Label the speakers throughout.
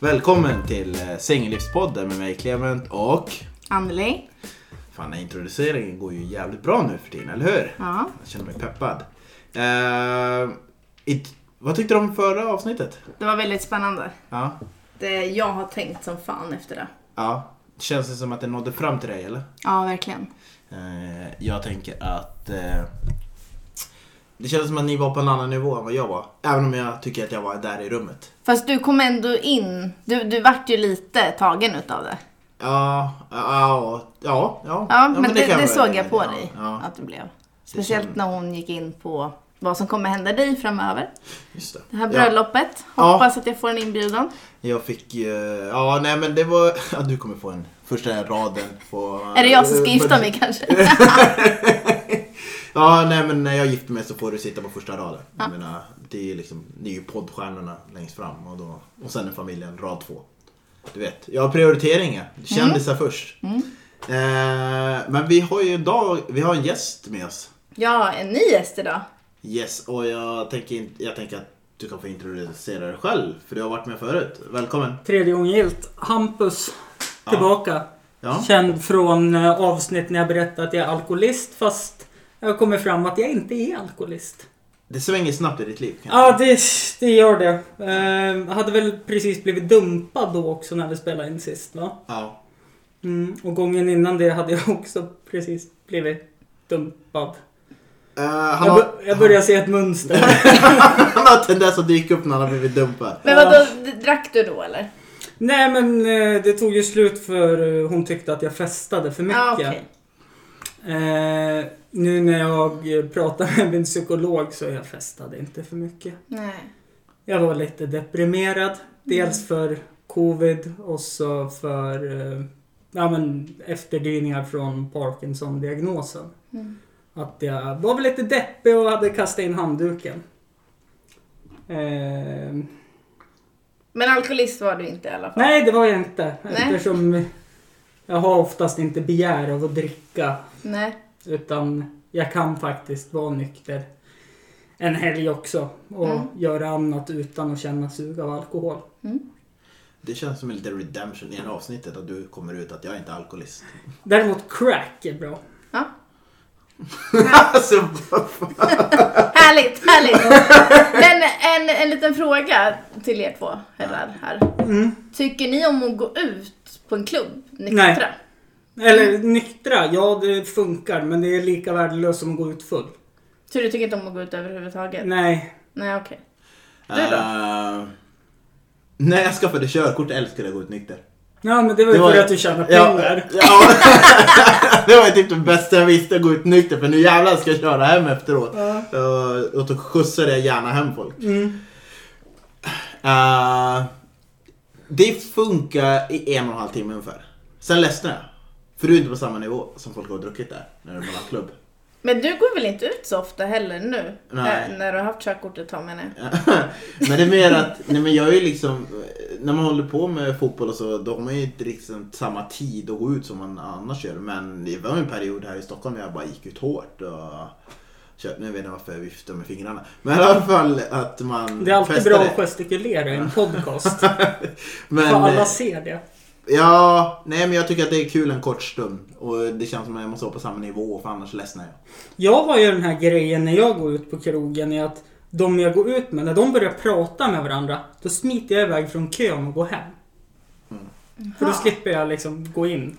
Speaker 1: Välkommen till eh, Singellivspodden med mig Clement och...
Speaker 2: Anneli.
Speaker 1: Fan, den här introduceringen går ju jävligt bra nu för tiden, eller hur?
Speaker 2: Ja.
Speaker 1: Jag känner mig peppad. Eh, i, vad tyckte du om förra avsnittet?
Speaker 2: Det var väldigt spännande.
Speaker 1: Ja.
Speaker 2: Det, jag har tänkt som fan efter det.
Speaker 1: ja. Känns det som att det nådde fram till dig, eller?
Speaker 2: Ja, verkligen.
Speaker 1: Eh, jag tänker att... Eh, det känns som att ni var på en annan nivå än vad jag var. Även om jag tycker att jag var där i rummet.
Speaker 2: Fast du kom ändå in. Du, du vart ju lite tagen utav det.
Speaker 1: Ja, ja, ja. Ja,
Speaker 2: Ja, men,
Speaker 1: kan
Speaker 2: det, det,
Speaker 1: väl-
Speaker 2: såg jag på
Speaker 1: ja,
Speaker 2: dig
Speaker 1: Ja,
Speaker 2: att du blev. Speciellt när hon gick in på vad som kommer hända dig framöver.
Speaker 1: just det.
Speaker 2: Det här
Speaker 1: Ja.
Speaker 2: bröllopet.
Speaker 1: Ja.
Speaker 2: Hoppas att jag får en inbjudan.
Speaker 1: Jag fick ju, ja nej men det var, ja, du kommer få en första raden på... eh,
Speaker 2: Är det jag som ska gifta mig kanske?
Speaker 1: Ja nej men när jag gifter mig så får du sitta på första raden. Jag menar, det är ju liksom, det är ju poddstjärnorna längst fram och, då, och sen är familjen rad två. Du vet, jag har prioriteringar. Kändisar
Speaker 2: Mm.
Speaker 1: först. Eh, men vi har ju en dag, vi har en gäst med oss.
Speaker 2: Ja, en ny gäst idag.
Speaker 1: Yes, och jag tänker, inte- jag tänker att du kan få introducera dig själv, för du har varit med förut. Välkommen!
Speaker 3: Tredje gången gillt. Hampus. Tillbaka.
Speaker 1: Ja.
Speaker 3: Känd från eh, avsnitt när jag berättade att jag är alkoholist fast jag kommer fram att jag inte är alkoholist.
Speaker 1: Det svänger snabbt i ditt liv. kan jag
Speaker 3: Ja, det, det gör det. Eh, hade väl precis blivit dumpad då också när vi spelade in sist va?
Speaker 1: Ja.
Speaker 3: Mm, och gången innan det hade jag också precis blivit dumpad.
Speaker 1: Eh, han,
Speaker 3: Jag,
Speaker 1: har,
Speaker 3: bör- jag börjar se ett mönster.
Speaker 1: han har tendens att dyka upp när han har blivit dumpad.
Speaker 2: Men vadå, drack du då eller?
Speaker 3: Nej men eh, det tog ju slut för eh, hon tyckte att jag festade för mycket.
Speaker 2: Ja, Ah, okej.
Speaker 3: Eh, nu när jag pratar med min psykolog så jag festade inte för mycket.
Speaker 2: Nej.
Speaker 3: Jag var lite deprimerad. Dels
Speaker 2: Mm.
Speaker 3: för covid och så för eh, ja, men efterdyningar från Parkinson-diagnosen.
Speaker 2: Mm.
Speaker 3: Att jag var väl lite deppig och hade kastat in handduken. Eh,
Speaker 2: Men alkoholist var du inte i alla fall?
Speaker 3: nej, det var jag inte.
Speaker 2: Nej.
Speaker 3: Eftersom jag har oftast inte begär av att dricka
Speaker 2: Nej.
Speaker 3: Utan jag kan faktiskt vara nykter en helg också och
Speaker 1: Mm.
Speaker 3: göra annat utan att känna sug av alkohol.
Speaker 1: Det känns som en liten redemption i det här avsnittet att du kommer ut att jag är inte är alkoholist.
Speaker 3: Däremot crack är bra.
Speaker 2: Ja.
Speaker 1: alltså, vad fan.
Speaker 2: Härligt, härligt. Men en, en liten fråga till er två herrar här.
Speaker 1: Mm.
Speaker 2: Tycker ni om att gå ut på en klubb nyktra?
Speaker 3: Nej. Eller nyktra, ja det funkar men det är lika värdelöst som att gå ut full.
Speaker 2: Så du tycker inte om att gå ut överhuvudtaget?
Speaker 3: Nej,
Speaker 2: Nej, okej. Du då?
Speaker 1: Eh, när jag skaffade körkort älskade jag att gå ut nykter.
Speaker 3: ja, men det var ju
Speaker 1: var-
Speaker 3: för att du tjänar pengar.
Speaker 1: Ja, ja. det var ju typ det bästa jag visste, att gå ut nykter. För nu jävlar ska jag köra hem efteråt. Eh, och då skjutsade jag gärna hem folk.
Speaker 3: Mm.
Speaker 1: Eh, det funkar i en och en halv timme ungefär. Sen ledsnade jag. För du är inte på samma nivå som folk har druckit där. När du är på nattklubb.
Speaker 2: Men du går väl inte ut så ofta heller nu?
Speaker 1: Nej.
Speaker 2: Äh, när du har haft körkort ett tag menar jag.
Speaker 1: men det är mer att, nej men jag är ju liksom, när man håller på med fotboll och så, då har man ju inte liksom samma tid att gå ut som man annars gör. Men det var en period här i Stockholm där jag bara gick ut hårt. Och, kö- nu vet jag varför jag viftar med fingrarna. Men i alla fall att man
Speaker 3: Det är alltid
Speaker 1: festade.
Speaker 3: bra att gestikulera i en podcast.
Speaker 1: Men,
Speaker 3: för
Speaker 1: eh,
Speaker 3: alla ser det.
Speaker 1: Ja, nej men jag tycker att det är kul en kort stund. Och det känns som att jag måste vara på samma nivå för annars ledsnar jag.
Speaker 3: Jag har ju den här grejen när jag går ut på krogen är att de jag går ut med, när de börjar prata med varandra, då smiter jag iväg från kön och går hem.
Speaker 2: Mm.
Speaker 3: För då slipper jag liksom gå in.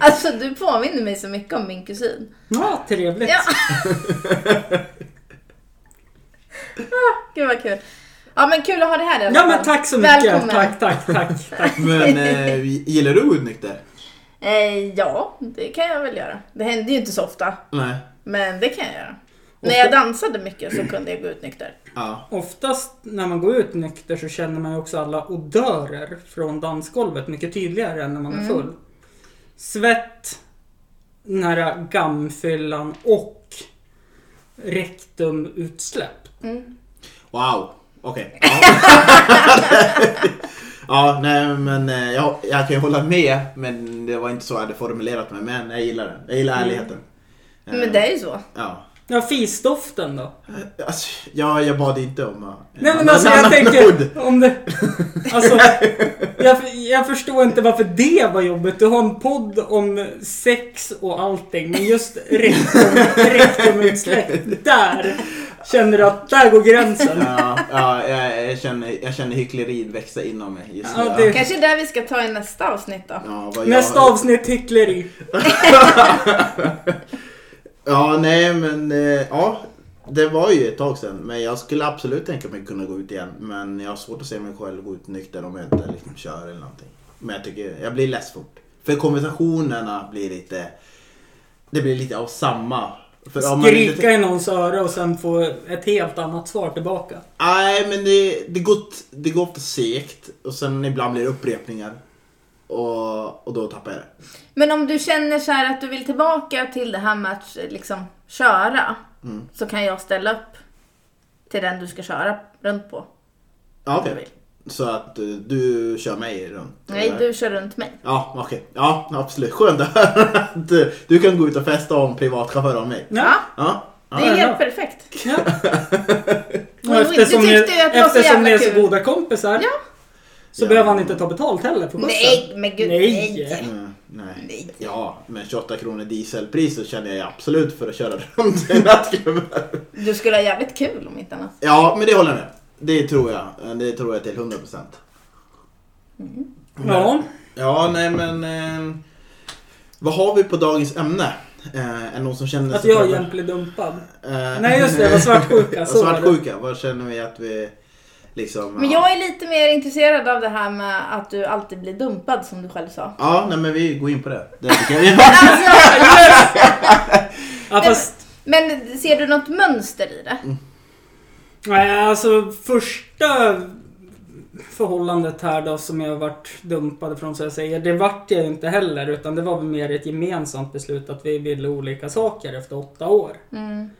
Speaker 2: Alltså du påminner mig så mycket om min kusin.
Speaker 3: Ja, trevligt.
Speaker 2: Ja. Gud vad kul. Ja men kul att ha det här i alla
Speaker 3: Ja,
Speaker 2: fall.
Speaker 3: men tack så mycket.
Speaker 2: Välkommen.
Speaker 3: Tack, tack, tack, tack.
Speaker 1: Men eh, gillar du att gå ut nykter?
Speaker 2: Eh, ja, det kan jag väl göra. Det händer ju inte så ofta,
Speaker 1: Nej.
Speaker 2: men det kan jag göra. När jag dansade mycket så kunde jag gå ut nykter.
Speaker 1: Ja.
Speaker 3: Oftast när man går ut nykter så känner man ju också alla odörer från dansgolvet mycket tydligare än när man
Speaker 2: Mm.
Speaker 3: är full. Svett, den här gamfyllan och rektumutsläpp.
Speaker 1: Wow, okej. Ja. ja, nej men eh, jag, jag kan ju hålla med.
Speaker 3: Mm.
Speaker 1: Men det var inte så jag hade formulerat mig. Men jag gillar den. Jag gillar ärligheten. Eh,
Speaker 2: Men det är ju så.
Speaker 1: Ja.
Speaker 3: Ja, fisdoften då?
Speaker 1: Alltså, ja, jag bad inte om eh,
Speaker 3: Nej men
Speaker 1: en
Speaker 3: alltså jag
Speaker 1: annan
Speaker 3: tänker om det... Alltså, jag, jag förstår inte varför det var jobbigt. Du har en podd om sex och allting. Men just rektum- rektumutsläpp, där känner du att där går gränsen.
Speaker 1: Ja, ja jag, jag, känner, jag känner hyckleriet växa inom mig just nu.
Speaker 3: Ja, det-
Speaker 2: Kanske där vi ska ta i nästa avsnitt då.
Speaker 1: Ja, vad jag-
Speaker 3: Nästa avsnitt hyckleri.
Speaker 1: Ja, nej men eh, ja. Det var ju ett tag sedan, men jag skulle absolut tänka mig kunna gå ut igen. Men jag har svårt att se mig själv gå ut nykter om jag inte liksom kör eller någonting. Men jag tycker, jag blir less fort. För konversationerna blir lite, det blir lite av samma. För om man inte-
Speaker 3: Skrika i någons öra och sen få ett helt annat svar tillbaka.
Speaker 1: Nej, men det, det, går, t- det går ofta segt och sen ibland blir det upprepningar. Och, och då tappar jag det.
Speaker 2: Men om du känner så här att du vill tillbaka till det här med att liksom köra.
Speaker 3: Mm.
Speaker 2: Så kan jag ställa upp till den du ska köra runt på.
Speaker 1: Ja, okej. Så att eh, du kör mig runt?
Speaker 2: Nej,
Speaker 1: eller?
Speaker 2: du kör runt mig.
Speaker 1: Ja, okej. Ja, absolut. Skönt att höra att eh, du kan gå ut och festa om privatchaufför om mig.
Speaker 3: Ja.
Speaker 1: Ja.
Speaker 2: Det är
Speaker 3: Ja,
Speaker 2: helt
Speaker 3: ja.
Speaker 2: perfekt.
Speaker 3: Ja.
Speaker 2: Och
Speaker 3: Och eftersom
Speaker 2: du
Speaker 3: ni,
Speaker 2: tyckte ju att det var så
Speaker 3: eftersom ni
Speaker 2: jävla
Speaker 3: är så
Speaker 2: kul.
Speaker 3: goda kompisar
Speaker 2: Ja.
Speaker 3: så
Speaker 1: Ja.
Speaker 3: behöver han inte ta betalt heller för skjutsen.
Speaker 2: Nej, men gud.
Speaker 3: Nej.
Speaker 2: Nej.
Speaker 1: Mm, nej.
Speaker 2: Nej.
Speaker 1: Ja, men 28 kronor dieselpris så känner jag absolut för att köra runt i nattklubben.
Speaker 2: Du skulle ha jävligt kul om inte annat.
Speaker 1: Ja, men det håller jag med. Det tror jag. Det tror jag till 100 procent.
Speaker 3: Ja.
Speaker 1: Ja, nej men... Eh, vad har vi på dagens ämne? Eh, är det någon som känner
Speaker 3: Att jag är
Speaker 1: drabbad?
Speaker 3: jämtlig dumpad.
Speaker 1: Eh,
Speaker 3: Nej just det, jag var svartsjuka. Så var det.
Speaker 1: svartsjuka. Vad känner vi att vi liksom... ja.
Speaker 2: Men jag är lite mer intresserad av det här med att du alltid blir dumpad som du själv sa.
Speaker 1: Ja, nej men vi går in på det. Det tycker jag vi
Speaker 3: Ja, fast,
Speaker 2: Men ser du något mönster i det?
Speaker 3: nej, alltså första förhållandet här då som jag varit dumpad från så jag säger. Det vart jag ju inte heller utan det var väl mer ett gemensamt beslut att vi ville olika saker efter åtta år.
Speaker 2: Mm.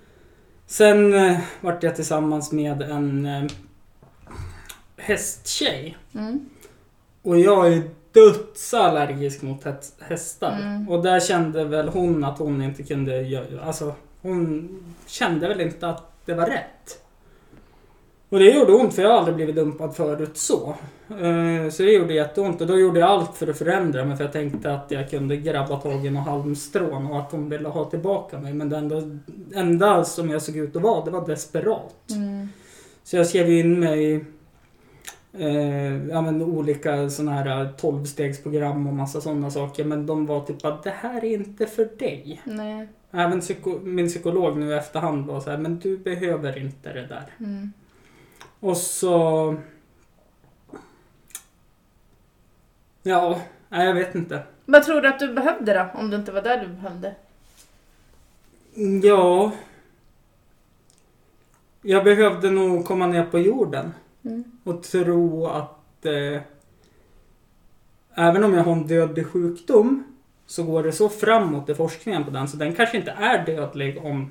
Speaker 3: Sen eh, vart jag tillsammans med en eh, hästtjej.
Speaker 2: Mm.
Speaker 3: Och jag är dödsallergisk mot hä- hästar.
Speaker 2: Mm.
Speaker 3: Och där kände väl hon att hon inte kunde göra... Alltså hon kände väl inte att det var rätt. Och det gjorde ont för jag har aldrig blivit dumpad förut så. Eh, Så det gjorde jätteont och då gjorde jag allt för att förändra mig för jag tänkte att jag kunde grabba tag i någon halmstrån och att hon ville ha tillbaka mig. Men det enda, enda som jag såg ut att vara, det var desperat.
Speaker 2: Mm.
Speaker 3: Så jag skrev in mig i eh, ja, men olika sådana här 12-stegsprogram och massa sådana saker. Men de var typ att det här är inte för dig.
Speaker 2: Nej.
Speaker 3: Även psyko- min psykolog nu i efterhand var så här, men du behöver inte det där.
Speaker 2: Mm.
Speaker 3: Och så... Ja, nej, jag vet inte.
Speaker 2: Vad tror du att du behövde då? Om det inte var där du behövde?
Speaker 3: Ja... Jag behövde nog komma ner på jorden.
Speaker 2: Mm.
Speaker 3: Och tro att eh, även om jag har en dödlig sjukdom så går det så framåt i forskningen på den så den kanske inte är dödlig om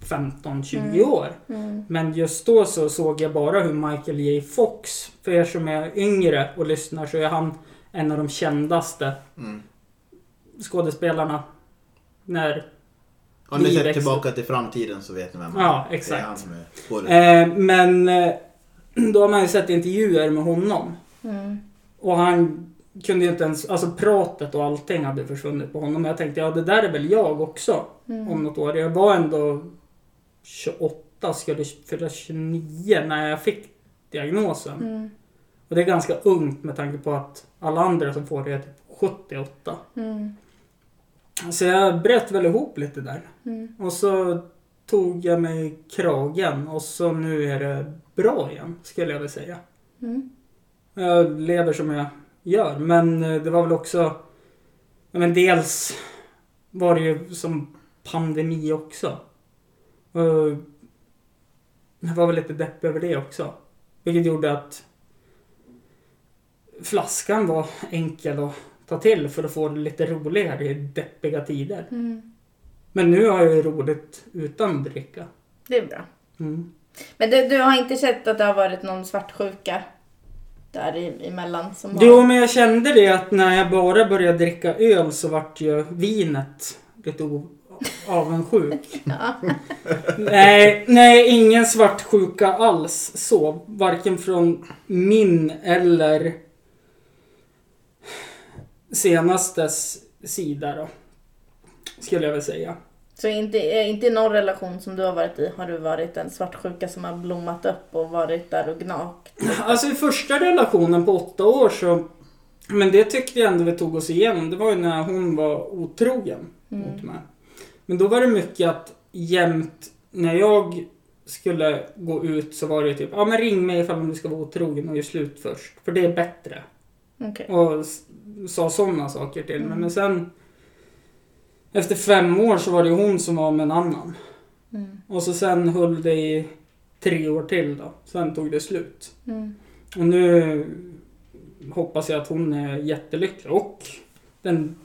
Speaker 3: 15-20
Speaker 2: Mm.
Speaker 3: år.
Speaker 2: Mm.
Speaker 3: Men just då så såg jag bara hur Michael J Fox, för er som är yngre och lyssnar så är han en av de kändaste
Speaker 1: Mm.
Speaker 3: skådespelarna. När
Speaker 1: Om ni ser
Speaker 3: Livväxt.
Speaker 1: tillbaka till framtiden så vet ni vem
Speaker 3: Ja,
Speaker 1: är.
Speaker 3: exakt.
Speaker 1: Det är han som är skådis.
Speaker 3: Eh, men eh, då har man ju sett intervjuer med honom.
Speaker 2: Mm.
Speaker 3: Och han kunde ju inte ens, alltså pratet och allting hade försvunnit på honom. Jag tänkte, ja det där är väl jag också
Speaker 2: mm,
Speaker 3: om något år. Jag var ändå 28, skulle fylla 29 när jag fick diagnosen.
Speaker 2: Mm.
Speaker 3: Och det är ganska ungt med tanke på att alla andra som får det är typ 78.
Speaker 2: Mm.
Speaker 3: Så jag bröt väl ihop lite där.
Speaker 2: Mm.
Speaker 3: Och så tog jag mig i kragen och så nu är det bra igen, skulle jag vilja säga.
Speaker 2: Mm.
Speaker 3: Jag lever som jag gör. Men eh, det var väl också... ja, Men dels var det ju som pandemi också. Och jag var väl lite deppig över det också. Vilket gjorde att flaskan var enkel att ta till för att få det lite roligare i deppiga tider.
Speaker 2: Mm.
Speaker 3: Men nu har jag ju roligt utan dricka.
Speaker 2: Det är bra.
Speaker 3: Mm.
Speaker 2: Men du, du har inte sett att det har varit någon svartsjuka där i, emellan? Som har...
Speaker 3: Jo, men jag kände det att när jag bara började dricka öl så vart ju vinet lite o- avundsjuk.
Speaker 2: Ja.
Speaker 3: Nej, nej, ingen svartsjuka alls så. Varken från min eller senastes sida då. Skulle jag väl säga.
Speaker 2: Så inte, eh, inte i någon relation som du har varit i har du varit en svartsjuka som har blommat upp och varit där och gnagt?
Speaker 3: Alltså i första relationen på åtta år så... Men det tyckte jag ändå vi tog oss igenom. Det var ju när hon var otrogen
Speaker 2: Mm.
Speaker 3: mot mig. Men då var det mycket att jämt när jag skulle gå ut så var det typ ja men ring mig ifall du ska vara otrogen och gör slut först. För det är bättre.
Speaker 2: Okej.
Speaker 3: Och s- sa sådana saker till mig. Men sen efter fem år så var det hon som var med en annan.
Speaker 2: Mm.
Speaker 3: Och så sen höll det i tre år till då. Sen tog det slut.
Speaker 2: Mm.
Speaker 3: Och nu hoppas jag att hon är jättelycklig och den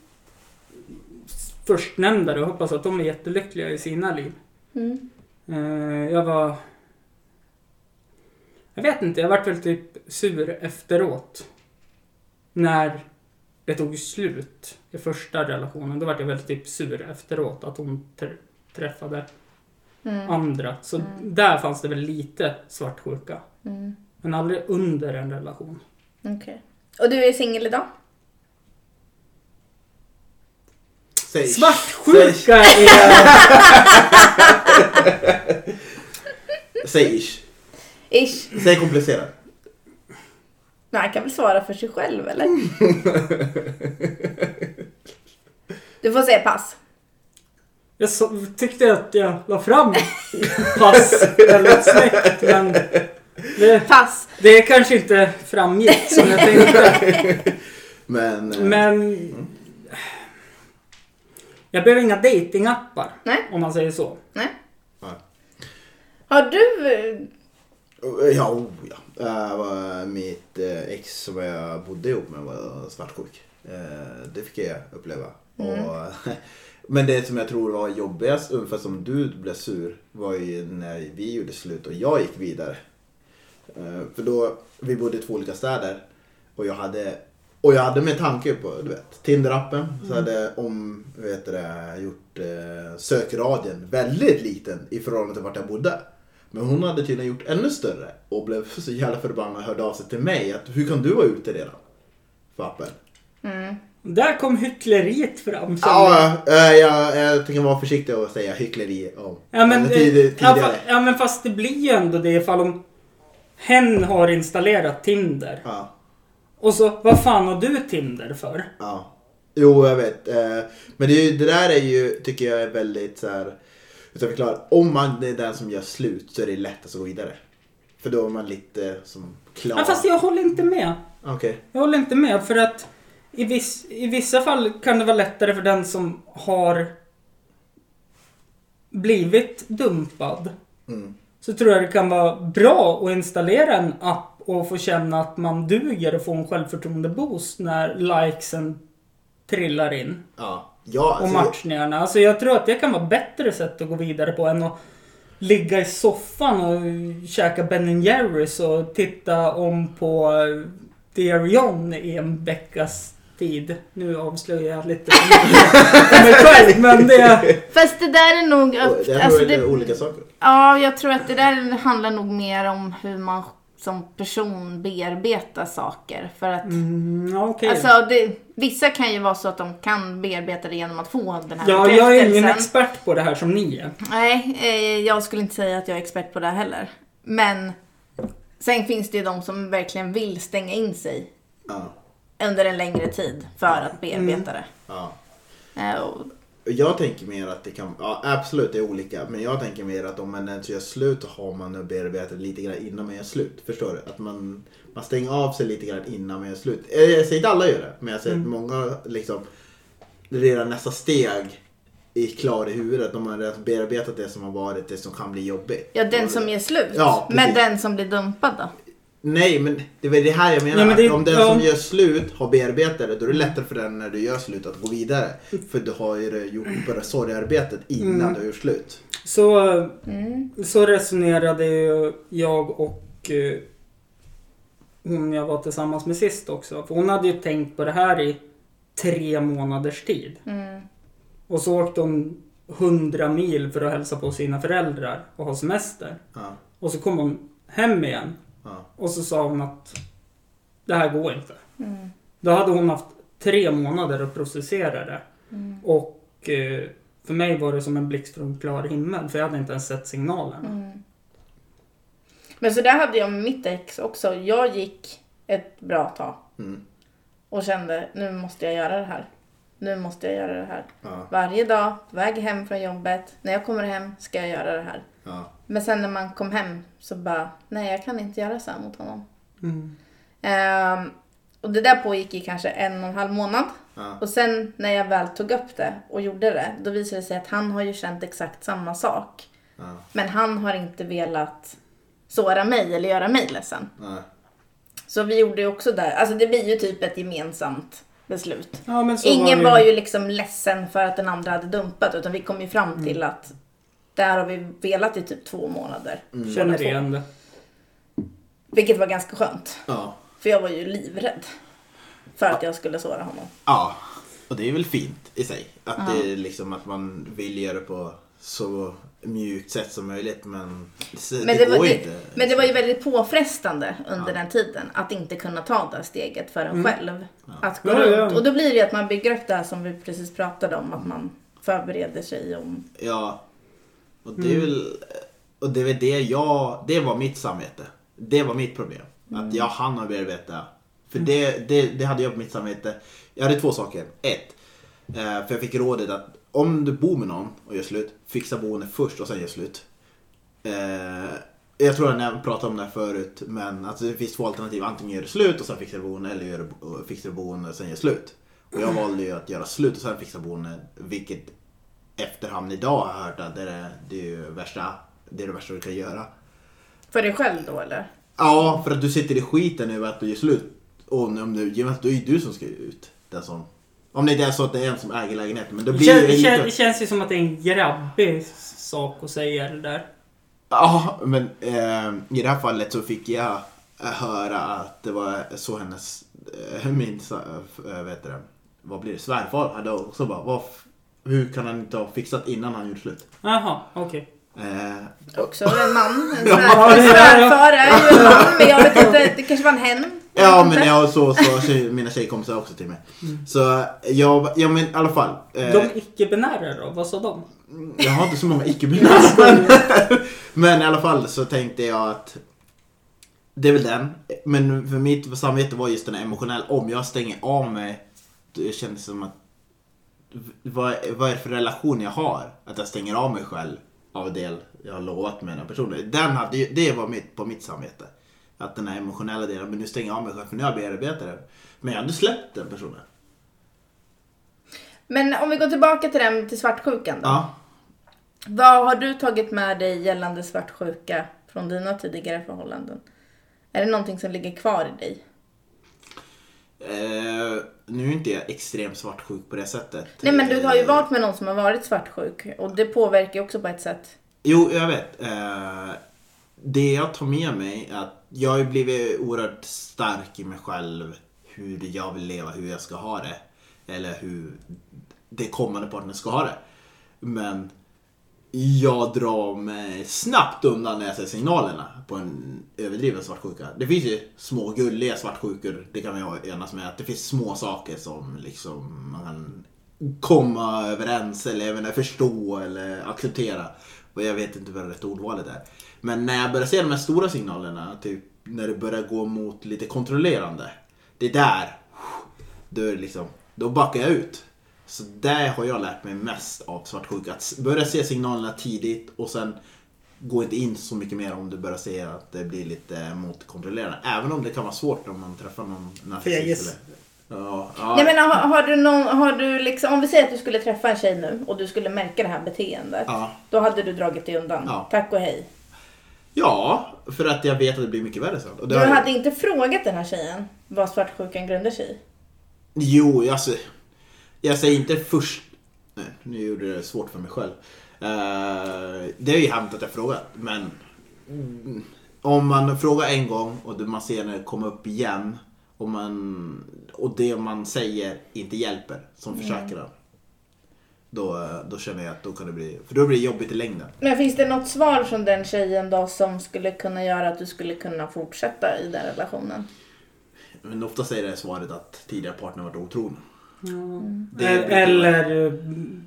Speaker 3: förstnämnda då, hoppas att de är jättelyckliga i sina liv.
Speaker 2: Mm.
Speaker 3: Eh, Jag var... Jag vet inte, jag vart väl typ sur efteråt. När det tog slut i första relationen, då vart jag väl typ sur efteråt att hon tr- träffade
Speaker 2: Mm.
Speaker 3: andra. Så
Speaker 2: Mm.
Speaker 3: där fanns det väl lite svartsjuka.
Speaker 2: Mm.
Speaker 3: Men aldrig under en relation.
Speaker 2: Okej. Och du är singel idag?
Speaker 1: Säg.
Speaker 3: Svartsjuka är...
Speaker 1: Säg ish.
Speaker 2: Ish.
Speaker 1: Säg komplicerat.
Speaker 2: Men han kan väl svara för sig själv eller? Du får säga pass.
Speaker 3: Jag så, tyckte att jag la fram pass väldigt snyggt men det,
Speaker 2: Pass.
Speaker 3: det kanske inte framgick som jag tänkte.
Speaker 1: Men... eh,
Speaker 3: Men... Jag behöver inga datingappar
Speaker 2: Nej.
Speaker 3: om man säger så.
Speaker 2: Nej.
Speaker 1: ja.
Speaker 2: Har du... eh,
Speaker 1: Ja, oh, ja. Eh, vad- mitt eh, ex som jag bodde ihop med var svartsjuk. Eh, Det fick jag uppleva.
Speaker 3: Mm.
Speaker 1: Och, men det som jag tror var jobbigast, ungefär som du blev sur, var ju när vi gjorde slut och jag gick vidare. Eh, För då, vi bodde i två olika städer och jag hade och jag hade med tanke på du vet, Tinder-appen, så
Speaker 3: Mm.
Speaker 1: hade jag om, vad heter det, gjort eh, sökradien väldigt liten i förhållande till vart jag bodde. Men hon hade tydligen gjort ännu större och blev så jävla förbannad och hörde av sig till mig att hur kan du vara ute redan? För appen.
Speaker 2: Mm.
Speaker 3: Där kom hyckleriet fram. som-
Speaker 1: Ja, jag, eh, jag, jag tänker vara försiktig och säga hyckleri om
Speaker 3: Ja men,
Speaker 1: eller
Speaker 3: det-
Speaker 1: tid-
Speaker 3: ja,
Speaker 1: tidigare.
Speaker 3: fa- ja men fast det blir ju ändå det ifall om hen har installerat Tinder.
Speaker 1: Ja,
Speaker 3: Och så, vad fan har du Tinder för?
Speaker 1: ja. Jo, jag vet. Eh, Men det, är ju, det där är ju, tycker jag är väldigt så här. Utan förklara, om man är den som gör slut så är det lättast att gå vidare. För då är man lite som klar.
Speaker 3: Ja, fast jag håller inte med.
Speaker 1: Okej.
Speaker 3: Jag håller inte med för att i, viss, i vissa fall kan det vara lättare för den som har blivit dumpad.
Speaker 1: Mm.
Speaker 3: Så tror jag det kan vara bra att installera en app och få känna att man duger och få en självförtroende-boost när likesen trillar in.
Speaker 1: Ja. Ja,
Speaker 3: Och
Speaker 1: alltså,
Speaker 3: matchningarna. Alltså jag tror att det kan vara bättre sätt att gå vidare på än att ligga i soffan och käka Ben Jerrys och titta om på eh, Dear John i en veckas tid. Nu avslöjar jag lite om mig själv men det...
Speaker 2: Fast det där är nog...
Speaker 1: jag-
Speaker 2: upp-
Speaker 1: det här
Speaker 2: alltså,
Speaker 1: tror jag är
Speaker 2: det-
Speaker 1: olika saker.
Speaker 2: Ja, jag tror att det där handlar nog mer om hur man som person bearbetar saker. För att,
Speaker 3: Mm, ja, okej.
Speaker 2: alltså, det, vissa kan ju vara så att de kan bearbeta det genom att få den här
Speaker 3: ja, jag är ingen
Speaker 2: bekräftelsen.
Speaker 3: expert på det här som ni är.
Speaker 2: Nej, eh, jag skulle inte säga att jag är expert på det här heller. Men sen finns det ju de som verkligen vill stänga in sig
Speaker 1: Ja.
Speaker 2: under en längre tid för att
Speaker 1: Mm.
Speaker 2: bearbeta det.
Speaker 1: ja.
Speaker 2: Eh, och,
Speaker 1: Jag tänker mer att det kan, ja absolut det är olika, men jag tänker mer att om man ens gör slut så har man nog bearbetat lite grann innan man gör slut. Förstår du? Att man, man stänger av sig lite grann innan man gör slut. Eh, Jag säger inte alla gör det, men jag
Speaker 2: Mm.
Speaker 1: säger att många liksom redan nästa steg är klar i huvudet. De har redan bearbetat det som har varit, det som kan bli jobbigt.
Speaker 2: ja, den som ger slut.
Speaker 1: Ja,
Speaker 2: men
Speaker 1: precis.
Speaker 2: den som blir dumpad då?
Speaker 1: Nej, men det är väl det här jag menar.
Speaker 3: Nej, men det-
Speaker 1: att om den
Speaker 3: ja.
Speaker 1: som gör slut har bearbetat det, då är det lättare för den när du gör slut att gå vidare. För du har ju gjort bara sorgearbetet innan
Speaker 2: Mm.
Speaker 1: du har gjort slut.
Speaker 3: Så, så resonerade ju jag och eh, hon jag var tillsammans med sist också. För hon hade ju
Speaker 2: Mm.
Speaker 3: tänkt på det här i tre månaders tid. Och så åkte hon 100 mil för att hälsa på sina föräldrar och ha semester.
Speaker 1: Ja,
Speaker 3: Och så kom hon hem igen
Speaker 1: ja.
Speaker 3: och så sa hon att det här går inte. Då hade hon haft tre månader att processera det. Och eh, för mig var det som en blixt från klar himmel för jag hade inte ens sett signalen.
Speaker 2: Men så där hade jag med mitt ex också. Jag gick ett bra tag
Speaker 1: Mm.
Speaker 2: och kände nu måste jag göra det här. Nu måste jag göra det här.
Speaker 1: Ja,
Speaker 2: Varje dag, på väg hem från jobbet, när jag kommer hem ska jag göra det här.
Speaker 1: ja.
Speaker 2: Men sen när man kom hem så bara, nej jag kan inte göra så här mot honom.
Speaker 3: Mm.
Speaker 2: Ehm, och det där pågick i kanske en och en halv månad.
Speaker 1: Ja.
Speaker 2: Och sen när jag väl tog upp det och gjorde det, då visade det sig att han har ju känt exakt samma sak.
Speaker 1: Ja.
Speaker 2: Men han har inte velat såra mig eller göra mig ledsen.
Speaker 1: Ja.
Speaker 2: Så vi gjorde ju också där, alltså det blir ju typ ett gemensamt beslut.
Speaker 3: Ja, men så
Speaker 2: Ingen
Speaker 3: det
Speaker 2: var ju liksom ledsen för att den andra hade dumpat utan vi kom ju fram
Speaker 3: Mm.
Speaker 2: till att där har vi velat i typ två månader.
Speaker 1: Mm.
Speaker 3: Känner igen det.
Speaker 2: Vilket var ganska skönt.
Speaker 1: ja.
Speaker 2: För jag var ju livrädd. För att jag skulle såra honom.
Speaker 1: Ja, och det är väl fint i sig. Att det är liksom att man vill göra det på så mjukt sätt som möjligt men det,
Speaker 2: Men
Speaker 1: det
Speaker 2: det,
Speaker 1: går
Speaker 2: var,
Speaker 1: ju
Speaker 2: det,
Speaker 1: inte.
Speaker 2: men det var ju väldigt påfrestande under den tiden att inte kunna ta det steget för en själv. Att gå
Speaker 3: Mm. Ja, ja.
Speaker 2: runt. Och då blir det ju att man bygger upp det här som vi precis pratade om, att man förbereder sig om...
Speaker 1: Ja. Och det är väl och det, är väl det jag, det var mitt samvete. Det var mitt problem. Att jag hann att bearbeta. För det, det, det hade jag på mitt samvete. Jag hade två saker. Ett, eh, för jag fick rådet att om du bor med någon och gör slut, fixa boende först och sen gör slut. Eh, jag tror att jag pratade om det här förut, men alltså, det finns två alternativ. Antingen gör du slut och sen fixar du boende eller gör du, och fixar du boende och sen gör slut. Och jag valde ju att göra slut och sen fixa boende, vilket efterhand idag har jag hört att det är det, är ju värsta, det, är det värsta du kan göra.
Speaker 2: För dig själv då eller?
Speaker 1: Ja, för att du sitter i skiten över att du gör slut. Och om du gör slut, då är ju du som ska ut. Den som, om det inte är så att det är en som äger lägenheten. Men då
Speaker 3: Det
Speaker 1: blir det
Speaker 3: kän,
Speaker 1: ju
Speaker 3: kän, det
Speaker 1: lite...
Speaker 3: känns ju som att det är en grabbig sak att säga det där.
Speaker 1: Ja, men eh, i det här fallet så fick jag eh, höra att det var så hennes, eh, min, sa- eh, vet du det, vad blir det, svärfar hade också bara, vad, f- hur kan han inte ha fixat innan han gjorde slut?
Speaker 3: Jaha, okej.
Speaker 1: Eh,
Speaker 2: Också en man. En
Speaker 1: Ja,
Speaker 2: svärfar
Speaker 3: det är-
Speaker 2: svärfar är ju en man, men jag vet inte, det kanske var en hen.
Speaker 1: Ja men jag så sa tjej, mina tjejkompisar också till mig. Så jag, ja men i alla fall. Eh,
Speaker 3: De icke-binära då, vad sa de?
Speaker 1: Jag har inte så många icke-binära. men, men i alla fall så tänkte jag att det är väl den. Men för mitt samvete var just den här emotionella. Om jag stänger av mig. Det kändes som att vad, vad är det för relation jag har? Att jag stänger av mig själv av del jag har lovat med den här personen. Den hade, ju- det var mitt, på mitt samvete. Att den här emotionella delen, men nu stänger jag av mig själv för nu har jag bearbetat den. Men jag hade släppt den personen.
Speaker 2: Men om vi går tillbaka till den, till svartsjukan då.
Speaker 1: Ja.
Speaker 2: Vad har du tagit med dig gällande svartsjuka från dina tidigare förhållanden? Är det någonting som ligger kvar i dig?
Speaker 1: Eh, nu är inte jag extremt svartsjuk på det sättet.
Speaker 2: Nej men du har ju
Speaker 1: Eh,
Speaker 2: varit med någon som har varit svartsjuk och det påverkar ju också på ett sätt.
Speaker 1: Jo, jag vet. Eh, det jag tar med mig är att jag har ju blivit oerhört stark i mig själv. Hur jag vill leva, hur jag ska ha det. Eller hur det kommande partnern ska ha det. Men jag drar mig snabbt undan när jag ser signalerna på en överdriven svartsjuka. Det finns ju små gulliga svartsjukor, det kan man ju enas med. Att det finns små saker som liksom man kan komma överens eller jag menar, förstå eller acceptera. Och jag vet inte vad rätt ordvalet är. Men när jag börjar se de här stora signalerna, typ när det börjar gå mot lite kontrollerande. Det är där då, är det liksom, då backar jag ut. Så där har jag lärt mig mest av svartsjuka. Att s- börja se signalerna tidigt och sen gå inte in så mycket mer om du börjar se att det blir lite motkontrollerande. Även om det kan vara svårt om man träffar någon
Speaker 3: Fegis.
Speaker 1: narcissist. eller- Ja, ja.
Speaker 2: Nej men har, har du någon, har du liksom, om vi säger att du skulle träffa en tjej nu och du skulle märka det här beteendet.
Speaker 1: Ja.
Speaker 2: Då hade du dragit dig undan.
Speaker 1: Ja.
Speaker 2: Tack och hej.
Speaker 1: ja, för att jag vet att det blir mycket värre sen. Och det
Speaker 2: Du
Speaker 1: har jag-
Speaker 2: hade inte frågat den här tjejen vad svartsjukan grundar sig i.
Speaker 1: Jo, alltså, jag säger inte först... Nej, nu gjorde jag det svårt för mig själv. Eh, det är ju hänt att jag frågat, men... mm, Om man frågar en gång och det man ser när det kommer upp igen och,
Speaker 3: Mm.
Speaker 1: man, och det man säger inte hjälper som försäkran. Då, då känner jag att då kan det bli, för då blir det jobbigt i längden.
Speaker 2: Men finns det något svar från den tjejen då som skulle kunna göra att du skulle kunna fortsätta i den relationen?
Speaker 1: Men ofta säger det svaret att tidigare partner varit otrogen. Det
Speaker 3: Eh,
Speaker 1: brukar
Speaker 3: Eller eh,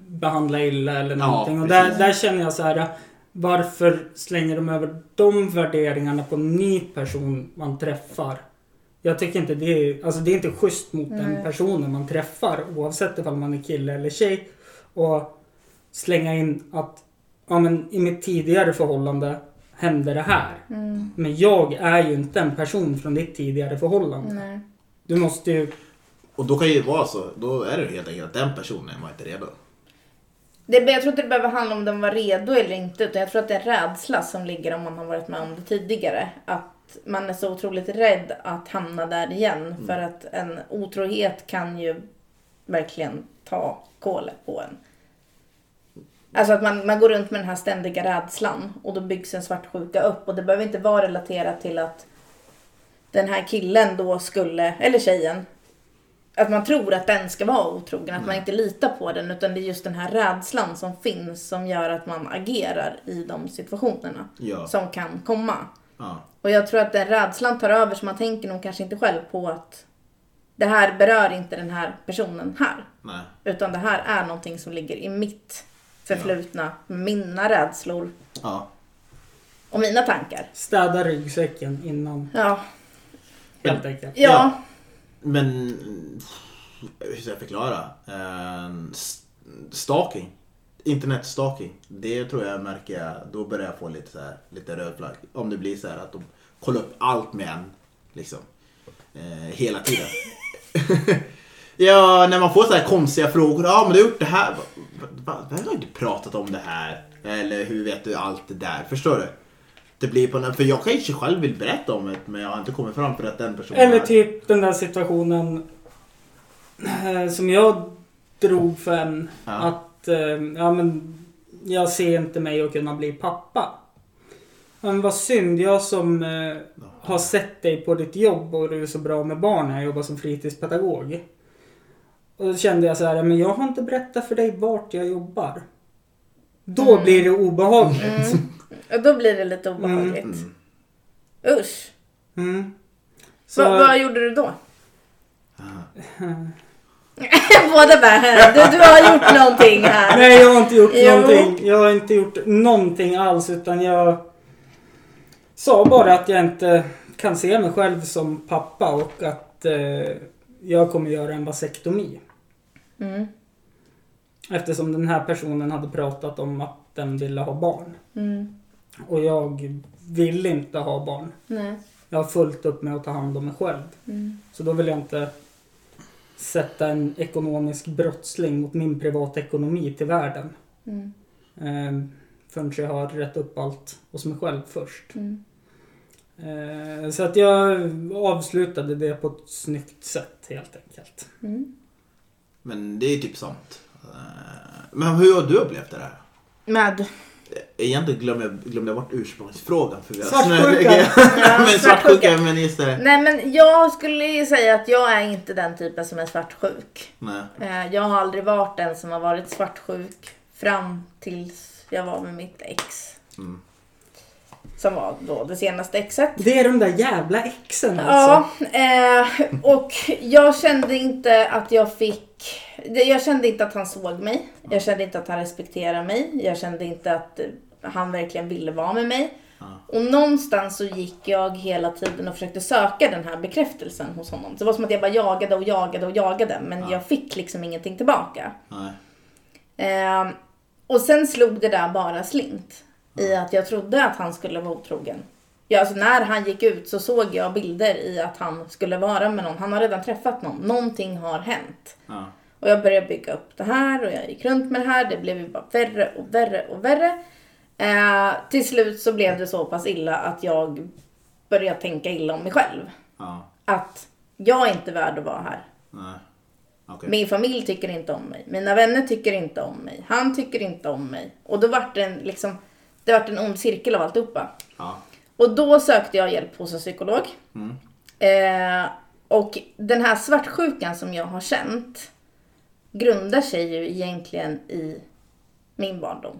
Speaker 3: behandla illa eller
Speaker 1: Ja,
Speaker 3: någonting. och
Speaker 1: precis.
Speaker 3: där, där känner jag så här. eh, Varför slänger de över de värderingarna på en ny person man träffar? Jag tycker inte det är, alltså det är inte schysst mot den personen man träffar oavsett ifall man är kille eller tjej. Och slänga in att ja, men i mitt tidigare förhållande hände det här. Men jag är ju inte en person från ditt tidigare förhållande.
Speaker 2: Nej.
Speaker 3: Du måste ju
Speaker 1: Och då kan ju vara så, då är det helt enkelt att den personen var inte redo.
Speaker 2: Det, jag tror inte det behöver handla om den var redo eller inte. Utan jag tror att det är en rädsla som ligger om man har varit med om det tidigare. Att man är så otroligt rädd att hamna där igen. För att en otrohet kan ju verkligen ta kålet på en. Alltså att man, man går runt med den här ständiga rädslan. Och då byggs en svartsjuka upp. Och det behöver inte vara relaterat till att den här killen då skulle, eller tjejen, att man tror att den ska vara otrogen, att man inte litar på den. Utan det är just den här rädslan som finns som gör att man agerar i de situationerna
Speaker 1: Ja.
Speaker 2: som kan komma.
Speaker 1: Ja.
Speaker 2: Och jag tror att den rädslan tar över så man tänker nog kanske inte själv på att det här berör inte den här personen här.
Speaker 1: Nej.
Speaker 2: Utan det här är någonting som ligger i mitt förflutna, mina rädslor
Speaker 1: Ja.
Speaker 2: och mina tankar.
Speaker 3: städa ryggsäcken innan.
Speaker 2: Ja,
Speaker 3: Helt enkelt.
Speaker 2: ja.
Speaker 1: Ja. Men hur ska jag förklara? Eh, s- stalking. Internetstalking. Det tror jag märker jag, då börjar jag få lite, så här, lite röd flagg. Om det blir så här att de kollar upp allt med en. Liksom. Eh, hela tiden. ja, när man får så här konstiga frågor. Ja, men du har gjort det här. Va, va, va, har inte pratat om det här. Eller hur vet du allt det där? Förstår du? Det blir på den, för jag kanske själv vill berätta om det men jag har inte kommit fram för att den personen
Speaker 3: Eller
Speaker 1: har-
Speaker 3: typ den där situationen eh, som jag drog för en.
Speaker 1: Ja.
Speaker 3: Att eh, ja, men jag ser inte mig att kunna bli pappa. Ja, Men vad synd, jag som eh, har sett dig på ditt jobb och du är så bra med barn. Jag jobbar som fritidspedagog. Och då kände jag så här, men jag har inte berättat för dig vart jag jobbar. Då blir det obehagligt.
Speaker 2: Och då blir det lite obehagligt. Usch.
Speaker 3: Mm. Så,
Speaker 2: Va, vad gjorde du då?
Speaker 1: Eh,
Speaker 2: Båda bara, du, du har gjort någonting här.
Speaker 3: Nej, jag har inte gjort
Speaker 2: Jo.
Speaker 3: någonting. Jag har inte gjort någonting alls utan jag sa bara att jag inte kan se mig själv som pappa och att eh, jag kommer göra en vasektomi.
Speaker 2: Mm.
Speaker 3: Eftersom den här personen hade pratat om att den ville ha barn.
Speaker 2: Mm.
Speaker 3: Och jag vill inte ha barn.
Speaker 2: Nej.
Speaker 3: Jag har fullt upp med att ta hand om mig själv.
Speaker 2: Mm.
Speaker 3: Så då vill jag inte sätta en ekonomisk brottsling mot min privatekonomi till världen.
Speaker 2: Mm.
Speaker 3: Eh, förrän jag har rätt upp allt hos mig själv först.
Speaker 2: Mm.
Speaker 3: Eh, så att jag avslutade det på ett snyggt sätt helt enkelt.
Speaker 2: Mm.
Speaker 1: Men det är typ sånt. Eh, Men hur har du upplevt det där?
Speaker 2: Med.
Speaker 1: Egentligen glömde jag, glömde jag bort ursprungsfrågan. För vi har
Speaker 3: Svartsjuka.
Speaker 1: Snö- men svartsjuka,
Speaker 2: svartsjuka.
Speaker 1: men just det.
Speaker 2: Nej men jag skulle ju säga att jag är inte den typen som är svartsjuk.
Speaker 1: Nej.
Speaker 2: Eh, Jag har aldrig varit den som har varit svartsjuk fram tills jag var med mitt ex.
Speaker 1: Mm.
Speaker 2: Som var då det senaste exet.
Speaker 3: Det är de där jävla exen alltså.
Speaker 2: Ja, eh, och jag kände inte att jag fick... det- Jag kände inte att han såg mig. Jag kände inte att han respekterade mig. Jag kände inte att eh, han verkligen ville vara med mig. Och någonstans så gick jag hela tiden och försökte söka den här bekräftelsen hos honom. Det var som att jag bara jagade och jagade och jagade men jag fick liksom ingenting tillbaka.
Speaker 1: Nej.
Speaker 2: Ehm, och sen slog det där bara slint. I att jag trodde att han skulle vara otrogen. Ja, alltså när han gick ut så såg jag bilder i att han skulle vara med någon. Han har redan träffat någon. Någonting har hänt.
Speaker 1: Ja.
Speaker 2: Och jag började bygga upp det här och jag gick runt med det här. Det blev ju bara värre och värre och värre. Eh, till slut så blev det så pass illa att jag började tänka illa om mig själv.
Speaker 1: Ja.
Speaker 2: Att jag är inte värd att vara här.
Speaker 1: Nej. Okej.
Speaker 2: Min familj tycker inte om mig. Mina vänner tycker inte om mig. Han tycker inte om mig. Och då vart det en, liksom, det vart en ond cirkel av alltihopa.
Speaker 1: Ja.
Speaker 2: Och då sökte jag hjälp hos en psykolog.
Speaker 1: Mm.
Speaker 2: Eh, och den här svartsjukan som jag har känt grundar sig ju egentligen i min barndom.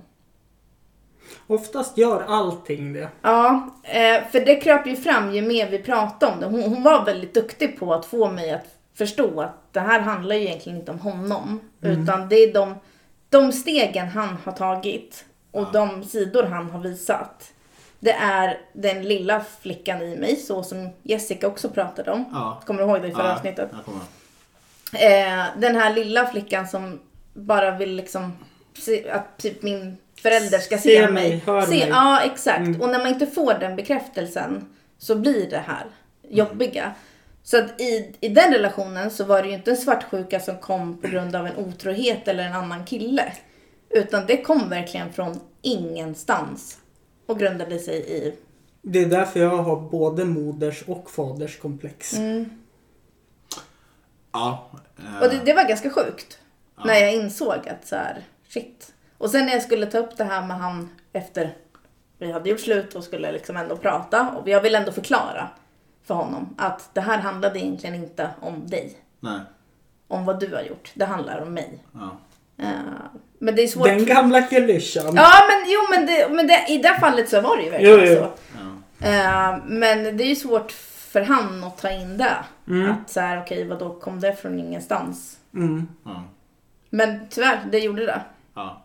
Speaker 3: Oftast gör allting det.
Speaker 2: Ja, eh, för det kröp ju fram ju mer vi pratade om det. Hon, hon var väldigt duktig på att få mig att förstå att det här handlar ju egentligen inte om honom.
Speaker 1: Mm.
Speaker 2: Utan det är de, de stegen han har tagit och de sidor han har visat. Det är den lilla flickan i mig, så som Jessica också pratade om.
Speaker 1: Ja.
Speaker 2: Kommer du ihåg det i förra
Speaker 1: Ja,
Speaker 2: avsnittet?
Speaker 1: jag kommer ihåg.
Speaker 2: Eh, den här lilla flickan som bara vill liksom se, att typ min förälder ska se,
Speaker 3: Se mig, hör
Speaker 2: se,
Speaker 3: mig. Mm.
Speaker 2: Ja, exakt. Och när man inte får den bekräftelsen så blir det här jobbiga. Så att i, i den relationen så var det ju inte en svartsjuka som kom på grund av en otrohet eller en annan kille. Utan det kom verkligen från ingenstans och grundade sig i...
Speaker 3: Det är därför jag har både moders och faders komplex.
Speaker 2: Mm.
Speaker 1: Ja. eh,
Speaker 2: Och det, det var ganska sjukt. När jag insåg att så här, shit. Och sen när jag skulle ta upp det här med han efter vi hade gjort slut och skulle liksom ändå prata. Och jag ville ändå förklara för honom att det här handlade egentligen inte om dig.
Speaker 1: Nej.
Speaker 2: Om vad du har gjort. Det handlar om mig.
Speaker 1: Ja.
Speaker 2: Eh, men det är svårt.
Speaker 3: Den gamla klyschan.
Speaker 2: Ja men jo men, det, men det, i det fallet så var det ju verkligen
Speaker 3: Jo, jo.
Speaker 2: så.
Speaker 1: Ja.
Speaker 2: Eh, men det är ju svårt för han att ta in det. Att så här, okej vadå kom det från ingenstans?
Speaker 3: Mm.
Speaker 1: Ja.
Speaker 2: Men tyvärr, det gjorde det.
Speaker 1: ja.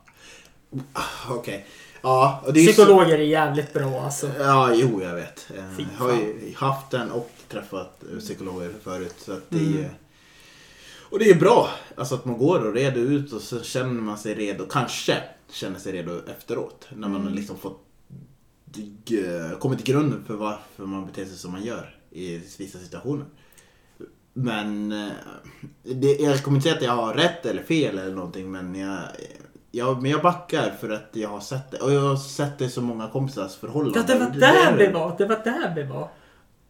Speaker 1: Ah, Okej. Ja, och det är ju så...
Speaker 3: Psykologer är jävligt bra alltså.
Speaker 1: Ja, jo, jag vet. Eh,
Speaker 3: Fy
Speaker 1: Jag har ju haft den och träffat eh, psykologer förut. Så att det är, ju- Och det är bra alltså att man går och reder ut och så känner man sig redo, kanske känner sig redo efteråt. När man har liksom fått eh, kommit till grunden för varför man beter sig som man gör i vissa situationer. Men eh, det, jag kommer inte säga att jag har rätt eller fel eller någonting men jag, eh, jag, men jag backar för att jag har sett det. Och jag har sett det i så många kompisars förhållanden.
Speaker 3: Ja, det var där vi var. Det var där vi var.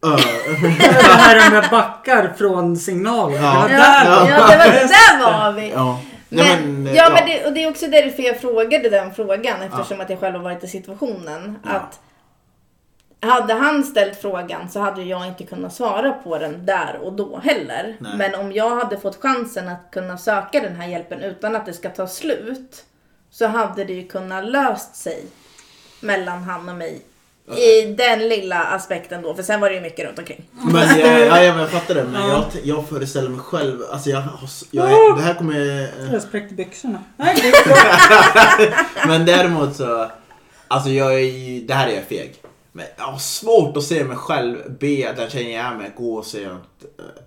Speaker 1: Ja, eh,
Speaker 3: Det var här med backar från signalen. Det var
Speaker 1: Ja.
Speaker 3: där
Speaker 2: Ja,
Speaker 3: vi var.
Speaker 2: det var, där var vi!
Speaker 1: ja.
Speaker 2: Men,
Speaker 1: Nej,
Speaker 2: ja,
Speaker 1: men, eh,
Speaker 2: men det, och det är också därför jag frågade den frågan eftersom att jag själv har varit i situationen. Att hade han ställt frågan så hade jag inte kunnat svara på den där och då heller.
Speaker 1: Nej.
Speaker 2: Men om jag hade fått chansen att kunna söka den här hjälpen utan att det ska ta slut så hade det ju kunnat löst sig mellan han och mig. I den lilla aspekten då, för sen var det ju mycket runt omkring.
Speaker 1: Men jag, ja, ja, men jag fattar det. Men jag, jag föreställer mig själv. Alltså jag, har s- jag, är- det här kommer... eh,
Speaker 3: Jag spräckte byxorna. Nej, det är bra.
Speaker 1: Men däremot så... Alltså jag är ju... Det här är jag feg. Men jag har svårt att se mig själv be den tjejen jag är med gå och se en, eh,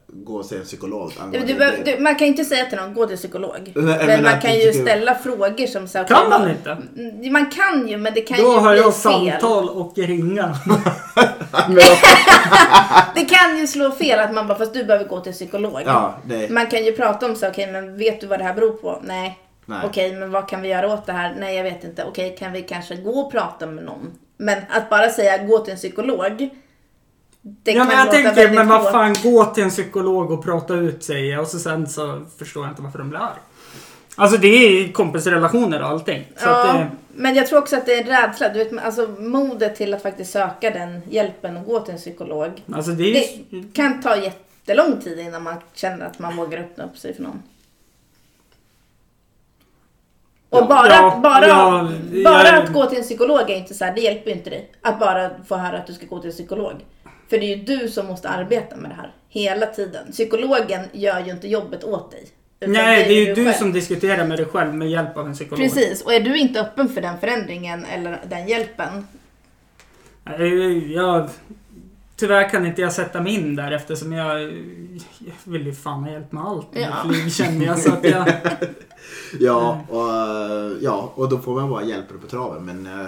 Speaker 1: gå och se en psykolog.
Speaker 2: Du,
Speaker 1: angående
Speaker 2: du, behöver-
Speaker 1: det.
Speaker 2: du, man kan ju inte säga till någon, gå till psykolog.
Speaker 1: Nej,
Speaker 2: men,
Speaker 1: men
Speaker 2: man
Speaker 1: att
Speaker 2: kan
Speaker 1: du
Speaker 2: ju
Speaker 1: tycker-
Speaker 2: ställa frågor som så här,
Speaker 3: Kan
Speaker 2: okej,
Speaker 3: man
Speaker 2: vad-
Speaker 3: inte?
Speaker 2: Mm, Man kan ju, men det kan
Speaker 3: Då
Speaker 2: ju
Speaker 3: har
Speaker 2: bli
Speaker 3: jag
Speaker 2: fel.
Speaker 3: samtal och ringa.
Speaker 2: Det kan ju slå fel att man bara, fast du behöver gå till psykolog.
Speaker 1: Ja, det...
Speaker 2: Man kan ju prata om så, okej, men vet du vad det här beror på? Nej.
Speaker 1: Nej.
Speaker 2: Okej, men vad kan vi göra åt det här? Nej, jag vet inte. Okej, kan vi kanske gå och prata med någon? Men att bara säga gå till en psykolog. Det
Speaker 3: ja, men jag
Speaker 2: låta
Speaker 3: tänker,
Speaker 2: väldigt
Speaker 3: men vad
Speaker 2: hårt.
Speaker 3: fan, gå till en psykolog och prata ut sig och så sen så förstår jag inte varför de blir arg. Alltså det är kompisrelationer och allting. Så
Speaker 2: ja,
Speaker 3: att det,
Speaker 2: men jag tror också att det är en rädsla. Du vet, alltså modet till att faktiskt söka den hjälpen och gå till en psykolog.
Speaker 3: alltså det är
Speaker 2: Det
Speaker 3: ju...
Speaker 2: kan ta jättelång tid innan man känner att man vågar öppna upp sig för någon. Och bara,
Speaker 3: Ja,
Speaker 2: bara,
Speaker 3: ja,
Speaker 2: bara
Speaker 3: jag-
Speaker 2: att gå till en psykolog är inte så här, det hjälper ju inte dig. Att bara få höra att du ska gå till en psykolog. För det är ju du som måste arbeta med det här hela tiden. Psykologen gör ju inte jobbet åt dig. Utan
Speaker 3: Nej, det är ju du
Speaker 2: själv.
Speaker 3: som diskuterar med dig själv med hjälp av en psykolog.
Speaker 2: Precis, och är du inte öppen för den förändringen eller den hjälpen.
Speaker 3: Nej, Jag, tyvärr kan inte jag sätta mig in där eftersom jag, jag vill ju fan ha hjälp med allt med
Speaker 2: Ja.
Speaker 3: flyg kände jag. Så att jag
Speaker 1: Ja, och, eh, ja, och då får man bara hjälpa det på traven. Men eh,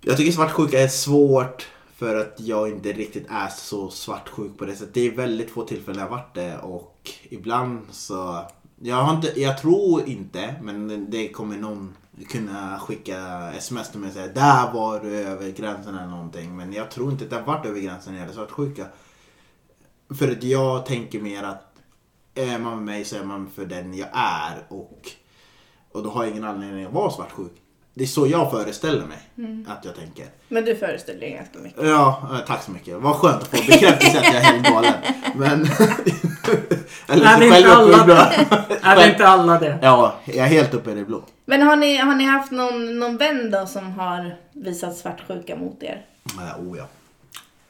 Speaker 1: jag tycker svartsjuka är svårt för att jag inte riktigt är så svartsjuk på det sättet. Det är väldigt få tillfällen jag har varit det och ibland så... Jag, har inte, jag tror inte, men det kommer någon kunna skicka sms till mig och säga där var du över gränsen eller någonting. Men jag tror inte att jag har varit över gränsen när det gäller svartsjuka. För att jag tänker mer att är man med mig så är man för den jag är och, och då har jag ingen anledning att vara svartsjuk. Det är så jag föreställer mig att jag tänker.
Speaker 2: Men du föreställer dig ganska mycket.
Speaker 1: Ja, eh, tack så mycket. Vad skönt att få bekräftelse att jag är helt galen. Men Eller
Speaker 3: Nej,
Speaker 1: så
Speaker 3: det
Speaker 1: själv
Speaker 3: är inte
Speaker 1: uppe i
Speaker 3: alla.
Speaker 1: blå.
Speaker 3: Är det inte alla det?
Speaker 1: Ja, jag är helt uppe i det blå.
Speaker 2: Men har ni, har ni haft någon, någon vän då som har visat svartsjuka mot er?
Speaker 1: Eh, Oh ja.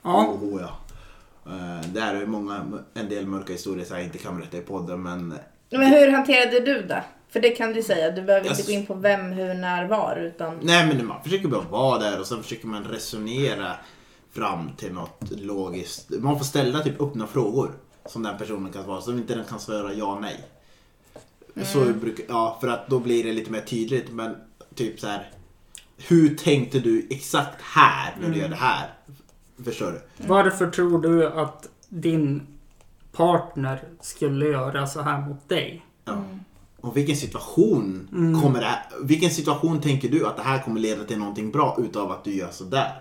Speaker 3: Ja.
Speaker 1: Oh, ja. Eh, Det här är ju många, en del mörka historier som jag inte kan berätta i podden men
Speaker 2: Men hur hanterade du det? För det kan du säga. Du behöver inte
Speaker 1: Yes.
Speaker 2: gå in på vem, hur, när, var. Utan...
Speaker 1: Alltså- Nej men man försöker bara vara där och sen försöker man resonera fram till något logiskt. Man får ställa typ öppna frågor som den personen kan svara som inte den kan svara ja nej. Så
Speaker 2: Mm.
Speaker 1: brukar, ja, för att då blir det lite mer tydligt men typ så här. Hur tänkte du exakt här när du gör
Speaker 2: Mm.
Speaker 1: det här? Förstår du?
Speaker 3: Varför tror du att din partner skulle göra så här mot dig?
Speaker 1: Ja.
Speaker 2: Mm.
Speaker 1: Och vilken situation kommer det här, Vilken situation tänker du att det här kommer leda till någonting bra utav att du gör sådär?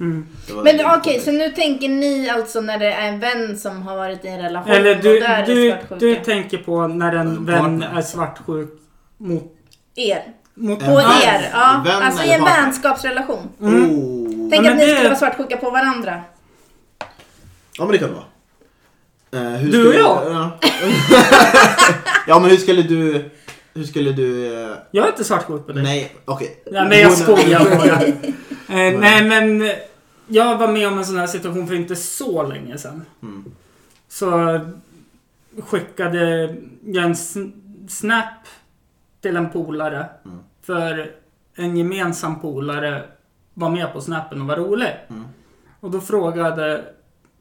Speaker 3: Mm.
Speaker 1: Det var
Speaker 2: Men
Speaker 1: det
Speaker 2: okej,
Speaker 1: jag kom
Speaker 2: så nu tänker ni alltså när det är en vän som har varit i en relation
Speaker 3: Eller du,
Speaker 2: och där är
Speaker 3: du,
Speaker 2: svartsjuka?
Speaker 3: du tänker på när en
Speaker 1: En
Speaker 3: vän
Speaker 1: partner.
Speaker 3: är svartsjuk mot...
Speaker 2: Er.
Speaker 3: mot
Speaker 2: På
Speaker 1: Ja.
Speaker 2: er, ja.
Speaker 1: Vän
Speaker 2: alltså i
Speaker 1: eller
Speaker 2: en
Speaker 1: partner?
Speaker 2: vänskapsrelation.
Speaker 1: Oh.
Speaker 2: Tänk
Speaker 3: men
Speaker 2: att ni
Speaker 3: det-
Speaker 2: skulle vara svartsjuka på varandra.
Speaker 1: Ja men det kan det vara. Eh, hur
Speaker 3: Du
Speaker 1: skulle-
Speaker 3: och jag?
Speaker 1: Ja. ja men hur skulle du... Hur skulle du... eh,
Speaker 3: Jag är inte svartsjuk på dig.
Speaker 1: Nej, okej.
Speaker 3: Nej, men jag
Speaker 1: Hon-
Speaker 3: skojar bara. eh, nej, men eh, jag var med om en sån här situation för inte så länge sedan.
Speaker 1: Mm.
Speaker 3: Så skickade jag en sn- snap till en polare.
Speaker 1: Mm.
Speaker 3: För en gemensam polare var med på snappen och var rolig.
Speaker 1: Mm.
Speaker 3: Och då frågade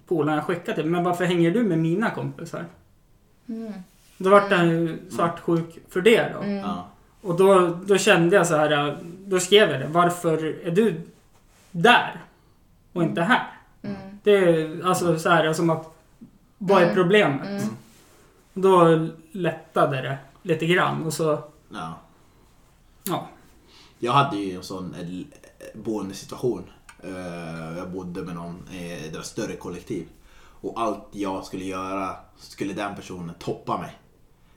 Speaker 3: polaren jag skickade till, men varför hänger du med mina kompisar? Då vart han
Speaker 1: Mm.
Speaker 3: ju svartsjuk för det då.
Speaker 1: Ja.
Speaker 3: Och då, då kände jag så här, äh, då skrev jag det. Varför är du där och inte här? Det är alltså så här som att, vad är problemet? Då lättade det lite grann och så,
Speaker 1: ja.
Speaker 3: ja.
Speaker 1: Jag hade ju en sån el- boendesituation. Eh, Jag bodde med någon i deras större kollektiv. Och allt jag skulle göra skulle den personen toppa mig.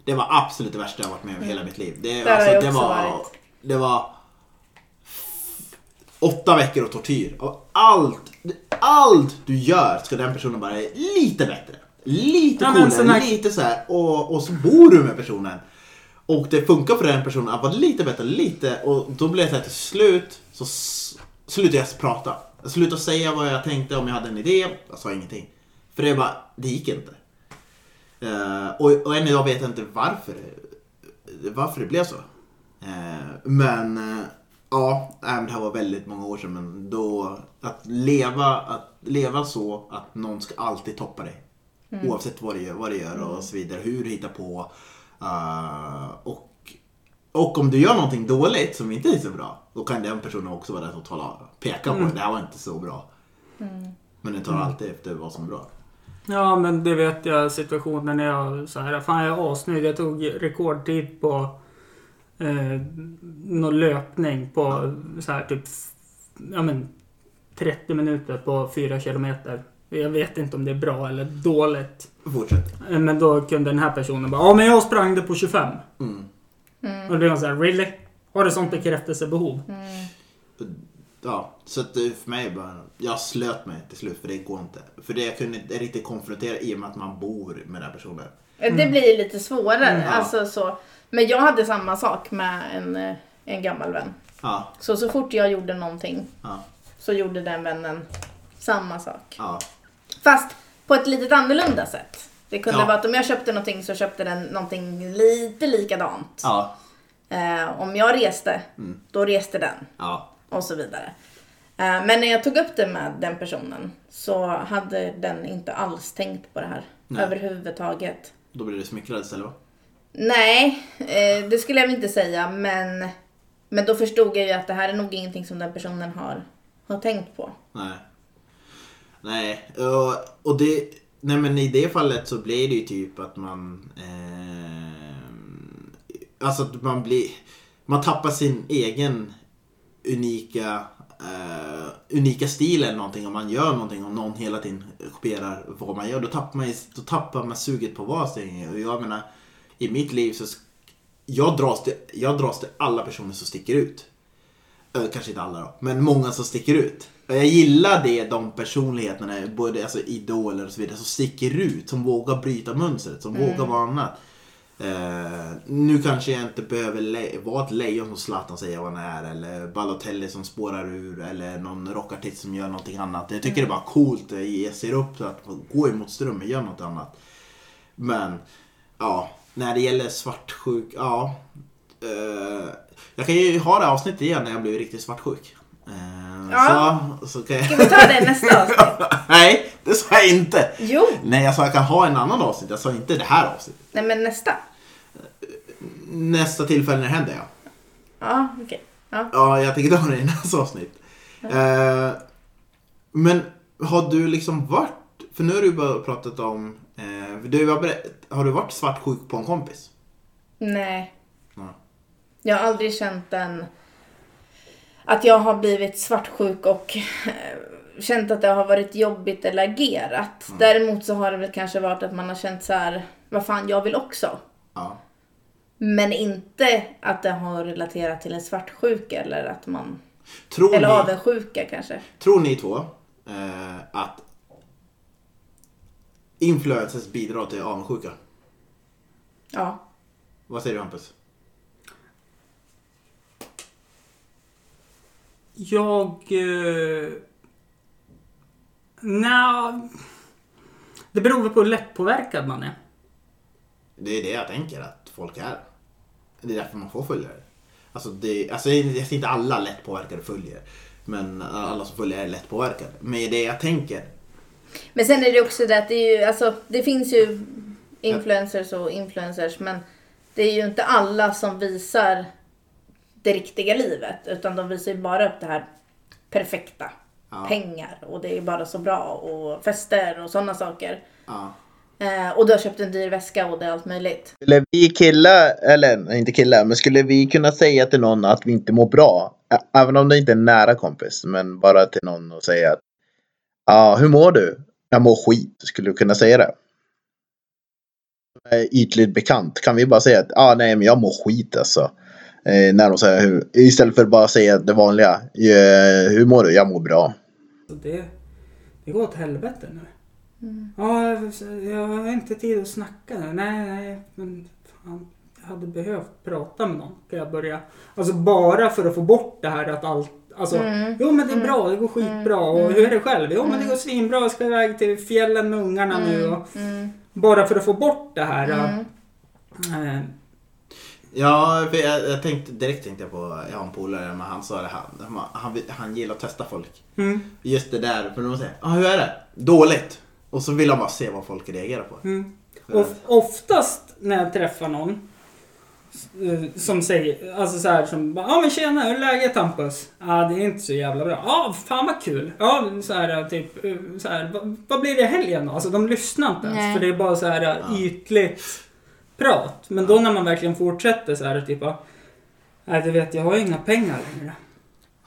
Speaker 1: Det var absolut det värsta jag varit med om i hela mitt liv. Det, alltså,
Speaker 2: Där har jag
Speaker 1: det
Speaker 2: också
Speaker 1: var...
Speaker 2: varit.
Speaker 1: Det var... Åtta veckor av tortyr. Av allt, allt du gör ska den personen bara är lite bättre. Lite
Speaker 3: Ja, men
Speaker 1: coolare,
Speaker 3: sån här-
Speaker 1: lite så här. Och, och så bor du med personen. Och det funkar för den personen att vara lite bättre, lite. Och då blev det så här till slut så s- slutade jag prata. Jag slutade säga vad jag tänkte om jag hade en idé. Jag sa ingenting. För det bara, det gick inte. Eh, och, och än idag vet jag inte varför, det- varför det blev så. Eh, men eh, ja, nej, men det här var väldigt många år sedan. Men då, att leva, att leva så att någon ska alltid toppa dig. Oavsett vad det gör, vad det gör och så vidare. Hur du hittar på. eh, och, och om du gör någonting dåligt som inte är så bra. Då kan den personen också vara den som talar, pekar på det. Det här var inte så bra. Mm. Men den tar alltid efter vad som är bra.
Speaker 3: Ja men det vet jag situationen när jag så här, fan jag är asnöjd. Jag tog rekordtid på eh, någon löpning på så här typ, ja men 30 minuter på 4 kilometer. Jag vet inte om det är bra eller dåligt.
Speaker 1: Fortsätt.
Speaker 3: Eh, Men då kunde den här personen bara Ja men jag sprang det på 25.
Speaker 1: Mm.
Speaker 3: Och då blev han såhär really? Har du sånt bekräftelsebehov?
Speaker 1: Ja, så att det för mig är bara, jag slöt mig till slut för det går inte. För det jag kunde inte riktigt konfrontera i och med att man bor med den här personen.
Speaker 2: Eh, Det blir ju lite svårare.
Speaker 1: Mm. Ja.
Speaker 2: Alltså, så. Men jag hade samma sak med en, eh, en gammal vän.
Speaker 1: Ja,
Speaker 2: Så, så fort jag gjorde någonting
Speaker 1: ja,
Speaker 2: så gjorde den vännen samma sak.
Speaker 1: ja.
Speaker 2: Fast på ett litet annorlunda sätt. Det kunde
Speaker 1: Ja.
Speaker 2: vara att om jag köpte någonting så köpte den någonting lite likadant.
Speaker 1: Ja,
Speaker 2: Eh, om jag reste,
Speaker 1: Mm.
Speaker 2: då reste den.
Speaker 1: ja.
Speaker 2: och så vidare. Eh, Men när jag tog upp det med den personen så hade den inte alls tänkt på det här
Speaker 1: Nej.
Speaker 2: överhuvudtaget.
Speaker 1: Då blir du smickrad istället va?
Speaker 2: Nej, eh, det skulle jag väl inte säga men, men då förstod jag ju att det här är nog ingenting som den personen har, har tänkt på.
Speaker 1: Nej. Nej, och- och det... Nej men i det fallet så blir det ju typ att man... ehm, alltså att man blir... Man tappar sin egen unika... eh, unika stil eller någonting om man gör någonting om någon hela tiden kopierar vad man gör. Då tappar man, ju- då tappar man suget på vad som är- Och jag menar, i mitt liv så... sk- Jag dras, till, jag dras till alla personer som sticker ut. Eh, Kanske inte alla då, men många som sticker ut. Och Jag gillar det, de personligheterna, både alltså idoler och så vidare, som sticker ut, som vågar bryta mönstret, som vågar vara annat. Eh, nu kanske jag inte behöver le- vara ett lejon som Zlatan säger vad han är, eller Balotelli som spårar ur, eller någon rockartist som gör någonting annat. Jag tycker det är bara coolt, jag ser upp så att gå emot strömmen, gör något annat. Men ja, när det gäller svartsjuk, ja. Eh, jag kan ju ha det här avsnittet igen när jag blir riktigt svartsjuk. Eh,
Speaker 2: Ja.
Speaker 1: så, så kan jag...
Speaker 2: Ska vi ta det i nästa avsnitt?
Speaker 1: Nej, det sa jag inte.
Speaker 2: Jo,
Speaker 1: Nej, jag sa jag kan ha en annan avsnitt. Jag sa inte det här avsnittet.
Speaker 2: nej men nästa.
Speaker 1: Nästa tillfälle när det händer, ja.
Speaker 2: Ja, okej. Ja.
Speaker 1: Ja, jag tänker ta det i nästa avsnitt. Eh, men har du liksom varit, för nu har du bara pratat om, eh, du har, berätt, har du varit svartsjuk på en kompis?
Speaker 2: Nej.
Speaker 1: Ja.
Speaker 2: Jag har aldrig känt en... Att jag har blivit svartsjuk och eh, känt att det har varit jobbigt eller agerat. Däremot så har det väl kanske varit att man har känt så här, vad fan, jag vill också.
Speaker 1: Ja.
Speaker 2: Men inte att det har relaterat till en svartsjuka eller att man...
Speaker 1: Tror
Speaker 2: Eller
Speaker 1: ni-
Speaker 2: avundsjuka kanske.
Speaker 1: Tror ni två eh, att influencers bidrar till avundsjuka?
Speaker 2: Ja.
Speaker 1: Vad säger du Hampus?
Speaker 3: Jag... Eh, nja, Det beror väl på hur lättpåverkad man är.
Speaker 1: Det är det jag tänker att folk är. Det är därför man får följare. Alltså, det, alltså jag säger inte alla lättpåverkade följer. Men alla som följer är lättpåverkade. Men det är det jag tänker.
Speaker 2: Men sen är det också det att det, är ju, alltså, det finns ju influencers och influencers men det är ju inte alla som visar det riktiga livet utan de visar ju bara upp det här perfekta.
Speaker 1: Ja.
Speaker 2: Pengar och det är bara så bra och fester och sådana saker.
Speaker 1: Ja.
Speaker 2: Eh, och du har köpt en dyr väska och det är allt möjligt.
Speaker 1: Skulle vi killar, eller nej, inte killar, men skulle vi kunna säga till någon att vi inte mår bra? Ä- Även om det inte är en nära kompis, men bara till någon och säga att ja, hur mår du? Jag mår skit, skulle du kunna säga det? Eh, Ytligt bekant, kan vi bara säga att ah, nej, men jag mår skit alltså. Eh, när de säger hur, istället för att bara säga det vanliga. Eh, hur mår du? Jag mår bra.
Speaker 3: Så det, det går åt helvete nu. Ja, jag har inte tid att snacka nu. Nej, nej, men fan. Jag hade behövt prata med någon. Kan jag börja? Alltså bara för att få bort det här att allt... Alltså, jo men det är bra, det går skitbra. Och hur är det själv? Jo men det går svinbra, jag ska iväg till fjällen med ungarna nu. Och, Bara för att få bort det här. eh,
Speaker 1: Ja, för jag, jag tänkte, direkt tänkte jag på, jag har en polare, men han sa det här, han, han, vill- han gillar att testa folk.
Speaker 3: Mm.
Speaker 1: Just det där, för de säger ah, hur är det? Dåligt. Och så vill han bara se vad folk reagerar på.
Speaker 3: Mm. Och oftast när jag träffar någon eh, som säger, alltså så här som bara, ja ah, men tjena, hur är läget Hampus? Ja, ah, det är inte så jävla bra. Ja, ah, fan vad kul. Ja, så här eh, typ, eh, så här, "Va- vad blir det i helgen då? Alltså de lyssnar inte ens
Speaker 2: Nej.
Speaker 3: för det är bara så här eh, ytligt prat. Men då när man verkligen fortsätter så här typ, "Ah, nej du vet jag har ju inga pengar längre.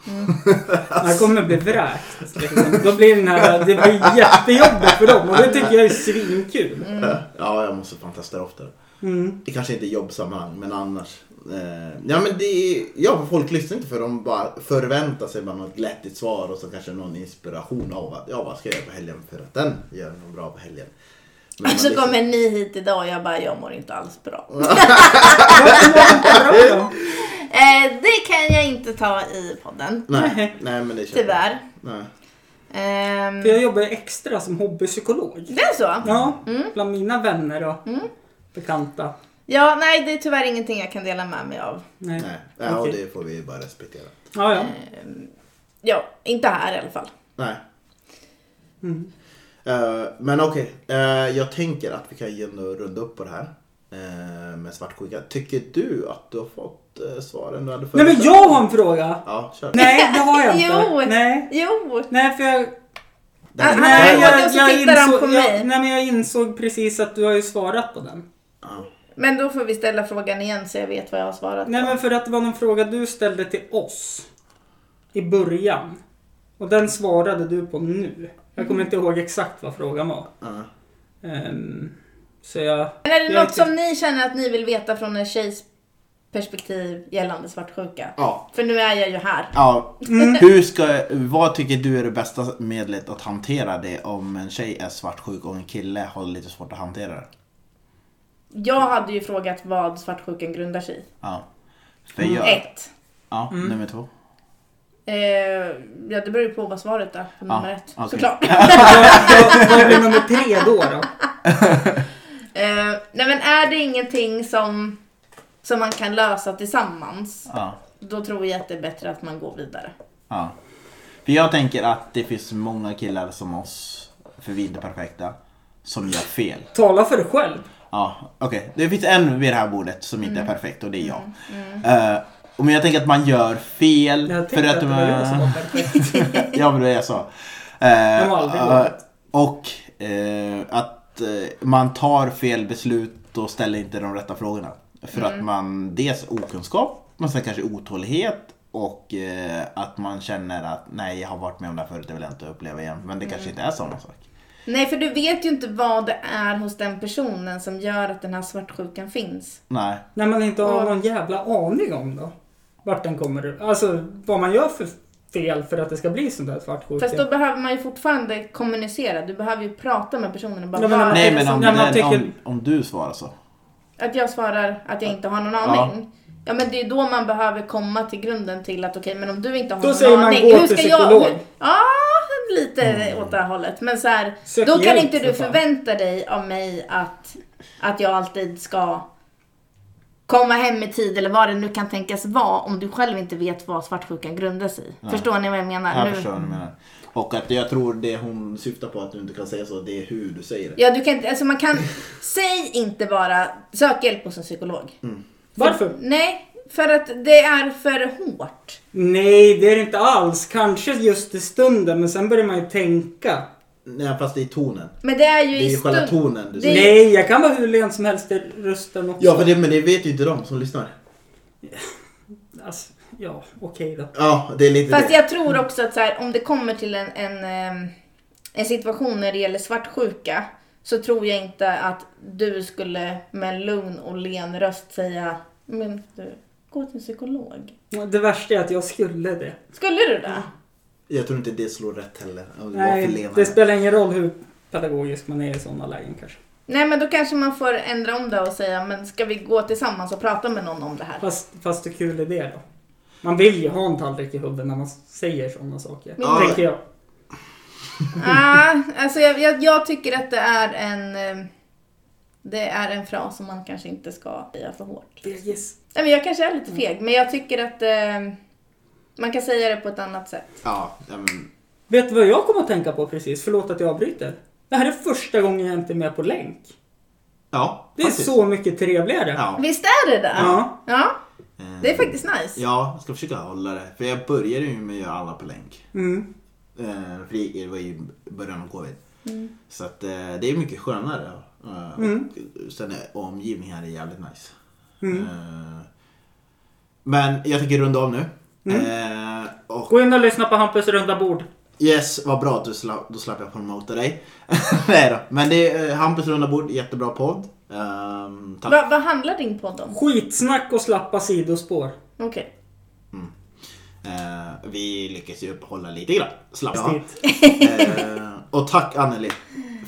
Speaker 3: Jag kommer bli vräkt. Liksom. Då blir den här, det blir jättejobbigt för dem och det tycker jag är svinkul.
Speaker 1: Eh, Ja, jag måste fan testa det oftare.
Speaker 3: Mm.
Speaker 1: Det kanske inte är jobbsammanhang, men annars. Eh, ja, men det är, ja, för folk lyssnar inte för de bara förväntar sig bara något glättigt svar och så kanske någon inspiration av att, ja, vad ska jag göra på helgen för att den gör något bra på helgen. Men man liksom-
Speaker 2: Och
Speaker 1: lyssnar-
Speaker 2: så Alltså, kommer ni hit idag och jag bara, jag mår inte alls bra. Eh, det kan jag inte ta i podden.
Speaker 1: Nej, nej, men det känns
Speaker 2: Tyvärr.
Speaker 1: Nej.
Speaker 2: Ehm,
Speaker 3: För jag jobbar ju extra som hobbypsykolog.
Speaker 2: det är så.
Speaker 3: Ja,
Speaker 2: Mm.
Speaker 3: bland mina vänner och bekanta.
Speaker 2: Ja, nej det är tyvärr ingenting jag kan dela med mig av.
Speaker 3: Nej.
Speaker 1: Nej, ja, och
Speaker 3: Okej.
Speaker 1: det får vi bara respektera.
Speaker 3: Ja,
Speaker 2: Eh.
Speaker 3: ja.
Speaker 2: Ja, inte här i alla fall.
Speaker 1: Nej.
Speaker 3: Mm.
Speaker 1: Eh, men okej, Eh, jag tänker att vi kan ju ändå runda upp på det här eh, med svartsjuka. Tycker du att du har fått eh, svaren du hade
Speaker 3: Nej men jag har en fråga!
Speaker 1: Ja, kör.
Speaker 3: Nej, det har jag
Speaker 2: Jo!
Speaker 3: inte. Nej,
Speaker 2: Jo! Ah,
Speaker 3: nej för jag...
Speaker 1: Det här-
Speaker 2: Han har
Speaker 3: Nej,
Speaker 2: en fråga och så tittar han på mig.
Speaker 3: jag, nej men jag insåg precis att du har ju svarat på den.
Speaker 1: Ja.
Speaker 2: Men då får vi ställa frågan igen så jag vet vad jag har svarat
Speaker 3: Nej
Speaker 2: på.
Speaker 3: men för att det var någon fråga du ställde till oss i början. Och den svarade du på nu. Jag
Speaker 2: Mm.
Speaker 3: kommer inte ihåg exakt vad frågan var.
Speaker 1: Ja.
Speaker 3: Ehm, så jag...
Speaker 2: Men är det
Speaker 3: jag
Speaker 2: något som ni känner att ni vill veta från en tjejs perspektiv gällande svartsjuka.
Speaker 1: Ja.
Speaker 2: För nu är jag ju här.
Speaker 1: Ja,
Speaker 3: Mm.
Speaker 1: hur ska, vad tycker du är det bästa medlet att hantera det om en tjej är svartsjuk och en kille har lite svårt att hantera det?
Speaker 2: Jag hade ju frågat vad svartsjukan grundar sig i.
Speaker 1: Ja. För
Speaker 3: Mm.
Speaker 1: jag,
Speaker 2: Ett.
Speaker 1: ja, nummer två.
Speaker 2: Eh, ja, det beror ju på vad svaret är på nummer ett.
Speaker 1: okej.
Speaker 2: Såklart.
Speaker 3: Vad- Vad blir nummer tre då? då?
Speaker 2: Eh, nej men är det ingenting som, som man kan lösa tillsammans,
Speaker 1: Ja.
Speaker 2: då tror jag att det är bättre att man går vidare.
Speaker 1: Ja. För jag tänker att det finns många killar som oss, för vi är inte perfekta, som gör fel.
Speaker 3: Tala för dig själv.
Speaker 1: Ja, okej. Det finns en vid det här bordet som inte är perfekt och det är jag. Eh, men jag tänker att man gör fel.
Speaker 3: Jag tänkte att det var jag som var perfekt.
Speaker 1: ja, men det är så. Uh,
Speaker 3: De har aldrig varit.
Speaker 1: och eh, att eh, man tar fel beslut och ställer inte de rätta frågorna. För
Speaker 3: Mm.
Speaker 1: att man dels okunskap, men sen kanske otålighet och eh, att man känner att nej, jag har varit med om det här förut, det vill jag inte uppleva igen. Men det
Speaker 3: Mm.
Speaker 1: kanske inte är samma sak.
Speaker 2: Nej, för du vet ju inte vad det är hos den personen som gör att den här svartsjukan finns.
Speaker 1: Nej.
Speaker 3: När man inte har någon jävla aning om då. Vart den kommer Alltså vad man gör för fel för att det ska bli sånt där svartsjuka.
Speaker 2: Fast då behöver man ju fortfarande kommunicera. Du behöver ju prata med personen och bara
Speaker 3: Ja, men-
Speaker 2: "Vad är
Speaker 1: Nej,
Speaker 2: det
Speaker 1: men
Speaker 2: som
Speaker 1: om,
Speaker 3: Nej, man
Speaker 1: den, om,
Speaker 3: tycker-
Speaker 1: om du svarar så.
Speaker 2: Att jag svarar att jag inte har någon
Speaker 1: Ja.
Speaker 2: aning. Ja. men det är då man behöver komma till grunden till att okej men om du inte har
Speaker 3: Då
Speaker 2: någon
Speaker 3: säger man,
Speaker 2: aning.
Speaker 3: gå till psykolog. Mm.
Speaker 2: Jag, ja lite åt det hållet. Men så här,
Speaker 3: Sök
Speaker 2: då kan
Speaker 3: hjälp,
Speaker 2: inte du
Speaker 3: för fan.
Speaker 2: förvänta dig av mig att, att jag alltid ska komma hem i tid eller vad det nu kan tänkas vara om du själv inte vet vad svartsjukan grundas i. Förstår ni vad jag menar?
Speaker 1: Jag
Speaker 3: Mm.
Speaker 2: Nu-
Speaker 1: förstår vad du menar. Och att jag tror det hon syftar på att du inte kan säga så, det är hur du säger det.
Speaker 2: Ja, du kan inte, alltså man kan, säg inte bara, sök hjälp hos en psykolog.
Speaker 3: Varför?
Speaker 2: Nej, för att det är för hårt.
Speaker 3: Nej, det är det inte alls. Kanske just i stunden, men sen börjar man ju tänka.
Speaker 1: Nej, fast det är tonen.
Speaker 2: Men det är ju
Speaker 1: Det är
Speaker 2: i
Speaker 1: ju själva
Speaker 2: stund...
Speaker 1: tonen du
Speaker 2: Det-
Speaker 1: säger.
Speaker 3: Nej, jag kan vara hur len som helst i rösten också.
Speaker 1: Ja, för det, men det vet ju inte de som lyssnar.
Speaker 3: Alltså, ja, okej då.
Speaker 1: Ja, det är lite
Speaker 2: Fast
Speaker 1: det.
Speaker 2: jag tror också att så här, om det kommer till en, en, ehm, en situation när det gäller svartsjuka så tror jag inte att du skulle med en lugn och len röst säga Men du, gå till en psykolog.
Speaker 3: Det värsta är att jag skulle det.
Speaker 2: Skulle du det?
Speaker 1: Jag tror inte det slår rätt heller. Om det var för
Speaker 3: Nej,
Speaker 1: Lena.
Speaker 3: det spelar ingen roll hur pedagogisk man är i sådana lägen kanske.
Speaker 2: Nej men då kanske man får ändra om det och säga men ska vi gå tillsammans och prata med någon om det här?
Speaker 3: Fast, fast hur kul är det då? Man vill ju ha en tallrik i huvudet när man säger sådana saker.
Speaker 1: Ja.
Speaker 3: Tänker jag.
Speaker 2: ah, alltså jag, jag, jag tycker att det är en ehm, det är en fras som man kanske inte ska säga för hårt.
Speaker 3: Birgis.
Speaker 2: Nej, men jag kanske är lite feg, men jag tycker att eh, man kan säga det på ett annat sätt.
Speaker 1: Ja, ja, men...
Speaker 3: Vet du vad jag kommer att tänka på precis? Förlåt att jag avbryter. Det här är första gången jag inte är med på länk.
Speaker 1: ja
Speaker 3: Det är
Speaker 1: faktiskt.
Speaker 3: så mycket trevligare.
Speaker 1: Ja.
Speaker 2: Visst är det det?
Speaker 3: Ja.
Speaker 2: ja.
Speaker 1: Eh,
Speaker 2: Det är faktiskt nice.
Speaker 1: Ja, jag ska försöka hålla det. För jag började ju med att göra alla på länk.
Speaker 3: Mm.
Speaker 1: Eh, För det var ju i början av covid.
Speaker 3: Mm.
Speaker 1: Så att, eh, det är mycket skönare. Eh, och Sen är omgivningen här är jävligt nice.
Speaker 3: Mm.
Speaker 1: Eh, Men jag tänker runda av nu.
Speaker 3: Mm.
Speaker 1: Eh, Och
Speaker 3: Gå in och lyssna på Hampus runda bord.
Speaker 1: Yes, vad bra att du slapp, då slapp jag promota dig. Nej då, men det är eh, Hampus runda bord, jättebra podd. Ehm, tack.
Speaker 2: Va, vad handlar din podd om?
Speaker 3: Skitsnack och slappa sidospår.
Speaker 2: Okej.
Speaker 1: Eh, vi lyckas ju uppehålla lite grann. Slapp. Ja.
Speaker 3: Stigt.
Speaker 1: Eh, och tack Anneli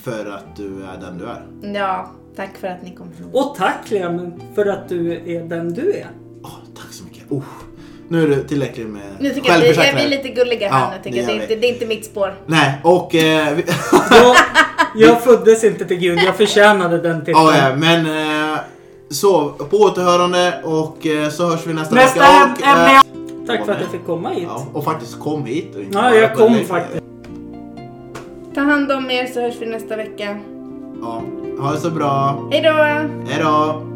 Speaker 1: för att du är den du är.
Speaker 2: Ja, tack för att ni kom hit.
Speaker 3: Och tack Clement för att du är den du är.
Speaker 1: Åh, tack så mycket. Oh, nu är det tillräckligt med
Speaker 2: Nu tycker jag att vi, jag vi är
Speaker 1: självförsäkring.
Speaker 2: lite gulliga här
Speaker 1: Ja,
Speaker 2: nu. Tycker jag.
Speaker 1: det
Speaker 2: Det,
Speaker 1: gör
Speaker 2: är inte,
Speaker 1: vi.
Speaker 2: det är inte mitt spår.
Speaker 1: Nej, och... Eh, vi...
Speaker 3: Jag, jag föddes inte till Gud, jag förtjänade den titeln.
Speaker 1: ja, ja, men... Eh, så, på återhörande och eh, så hörs vi nästa,
Speaker 3: Nästa
Speaker 1: vecka. Och,
Speaker 3: ämne!
Speaker 1: eh,
Speaker 3: Tack för att jag fick komma hit.
Speaker 1: ja, och faktiskt kom hit. Och inte
Speaker 3: Ja,
Speaker 1: bara
Speaker 3: jag kom
Speaker 1: kolla-
Speaker 3: faktiskt.
Speaker 2: Ta hand om er så hörs vi nästa vecka.
Speaker 1: Ja, ha det så bra.
Speaker 2: Hej då!
Speaker 1: Hej då!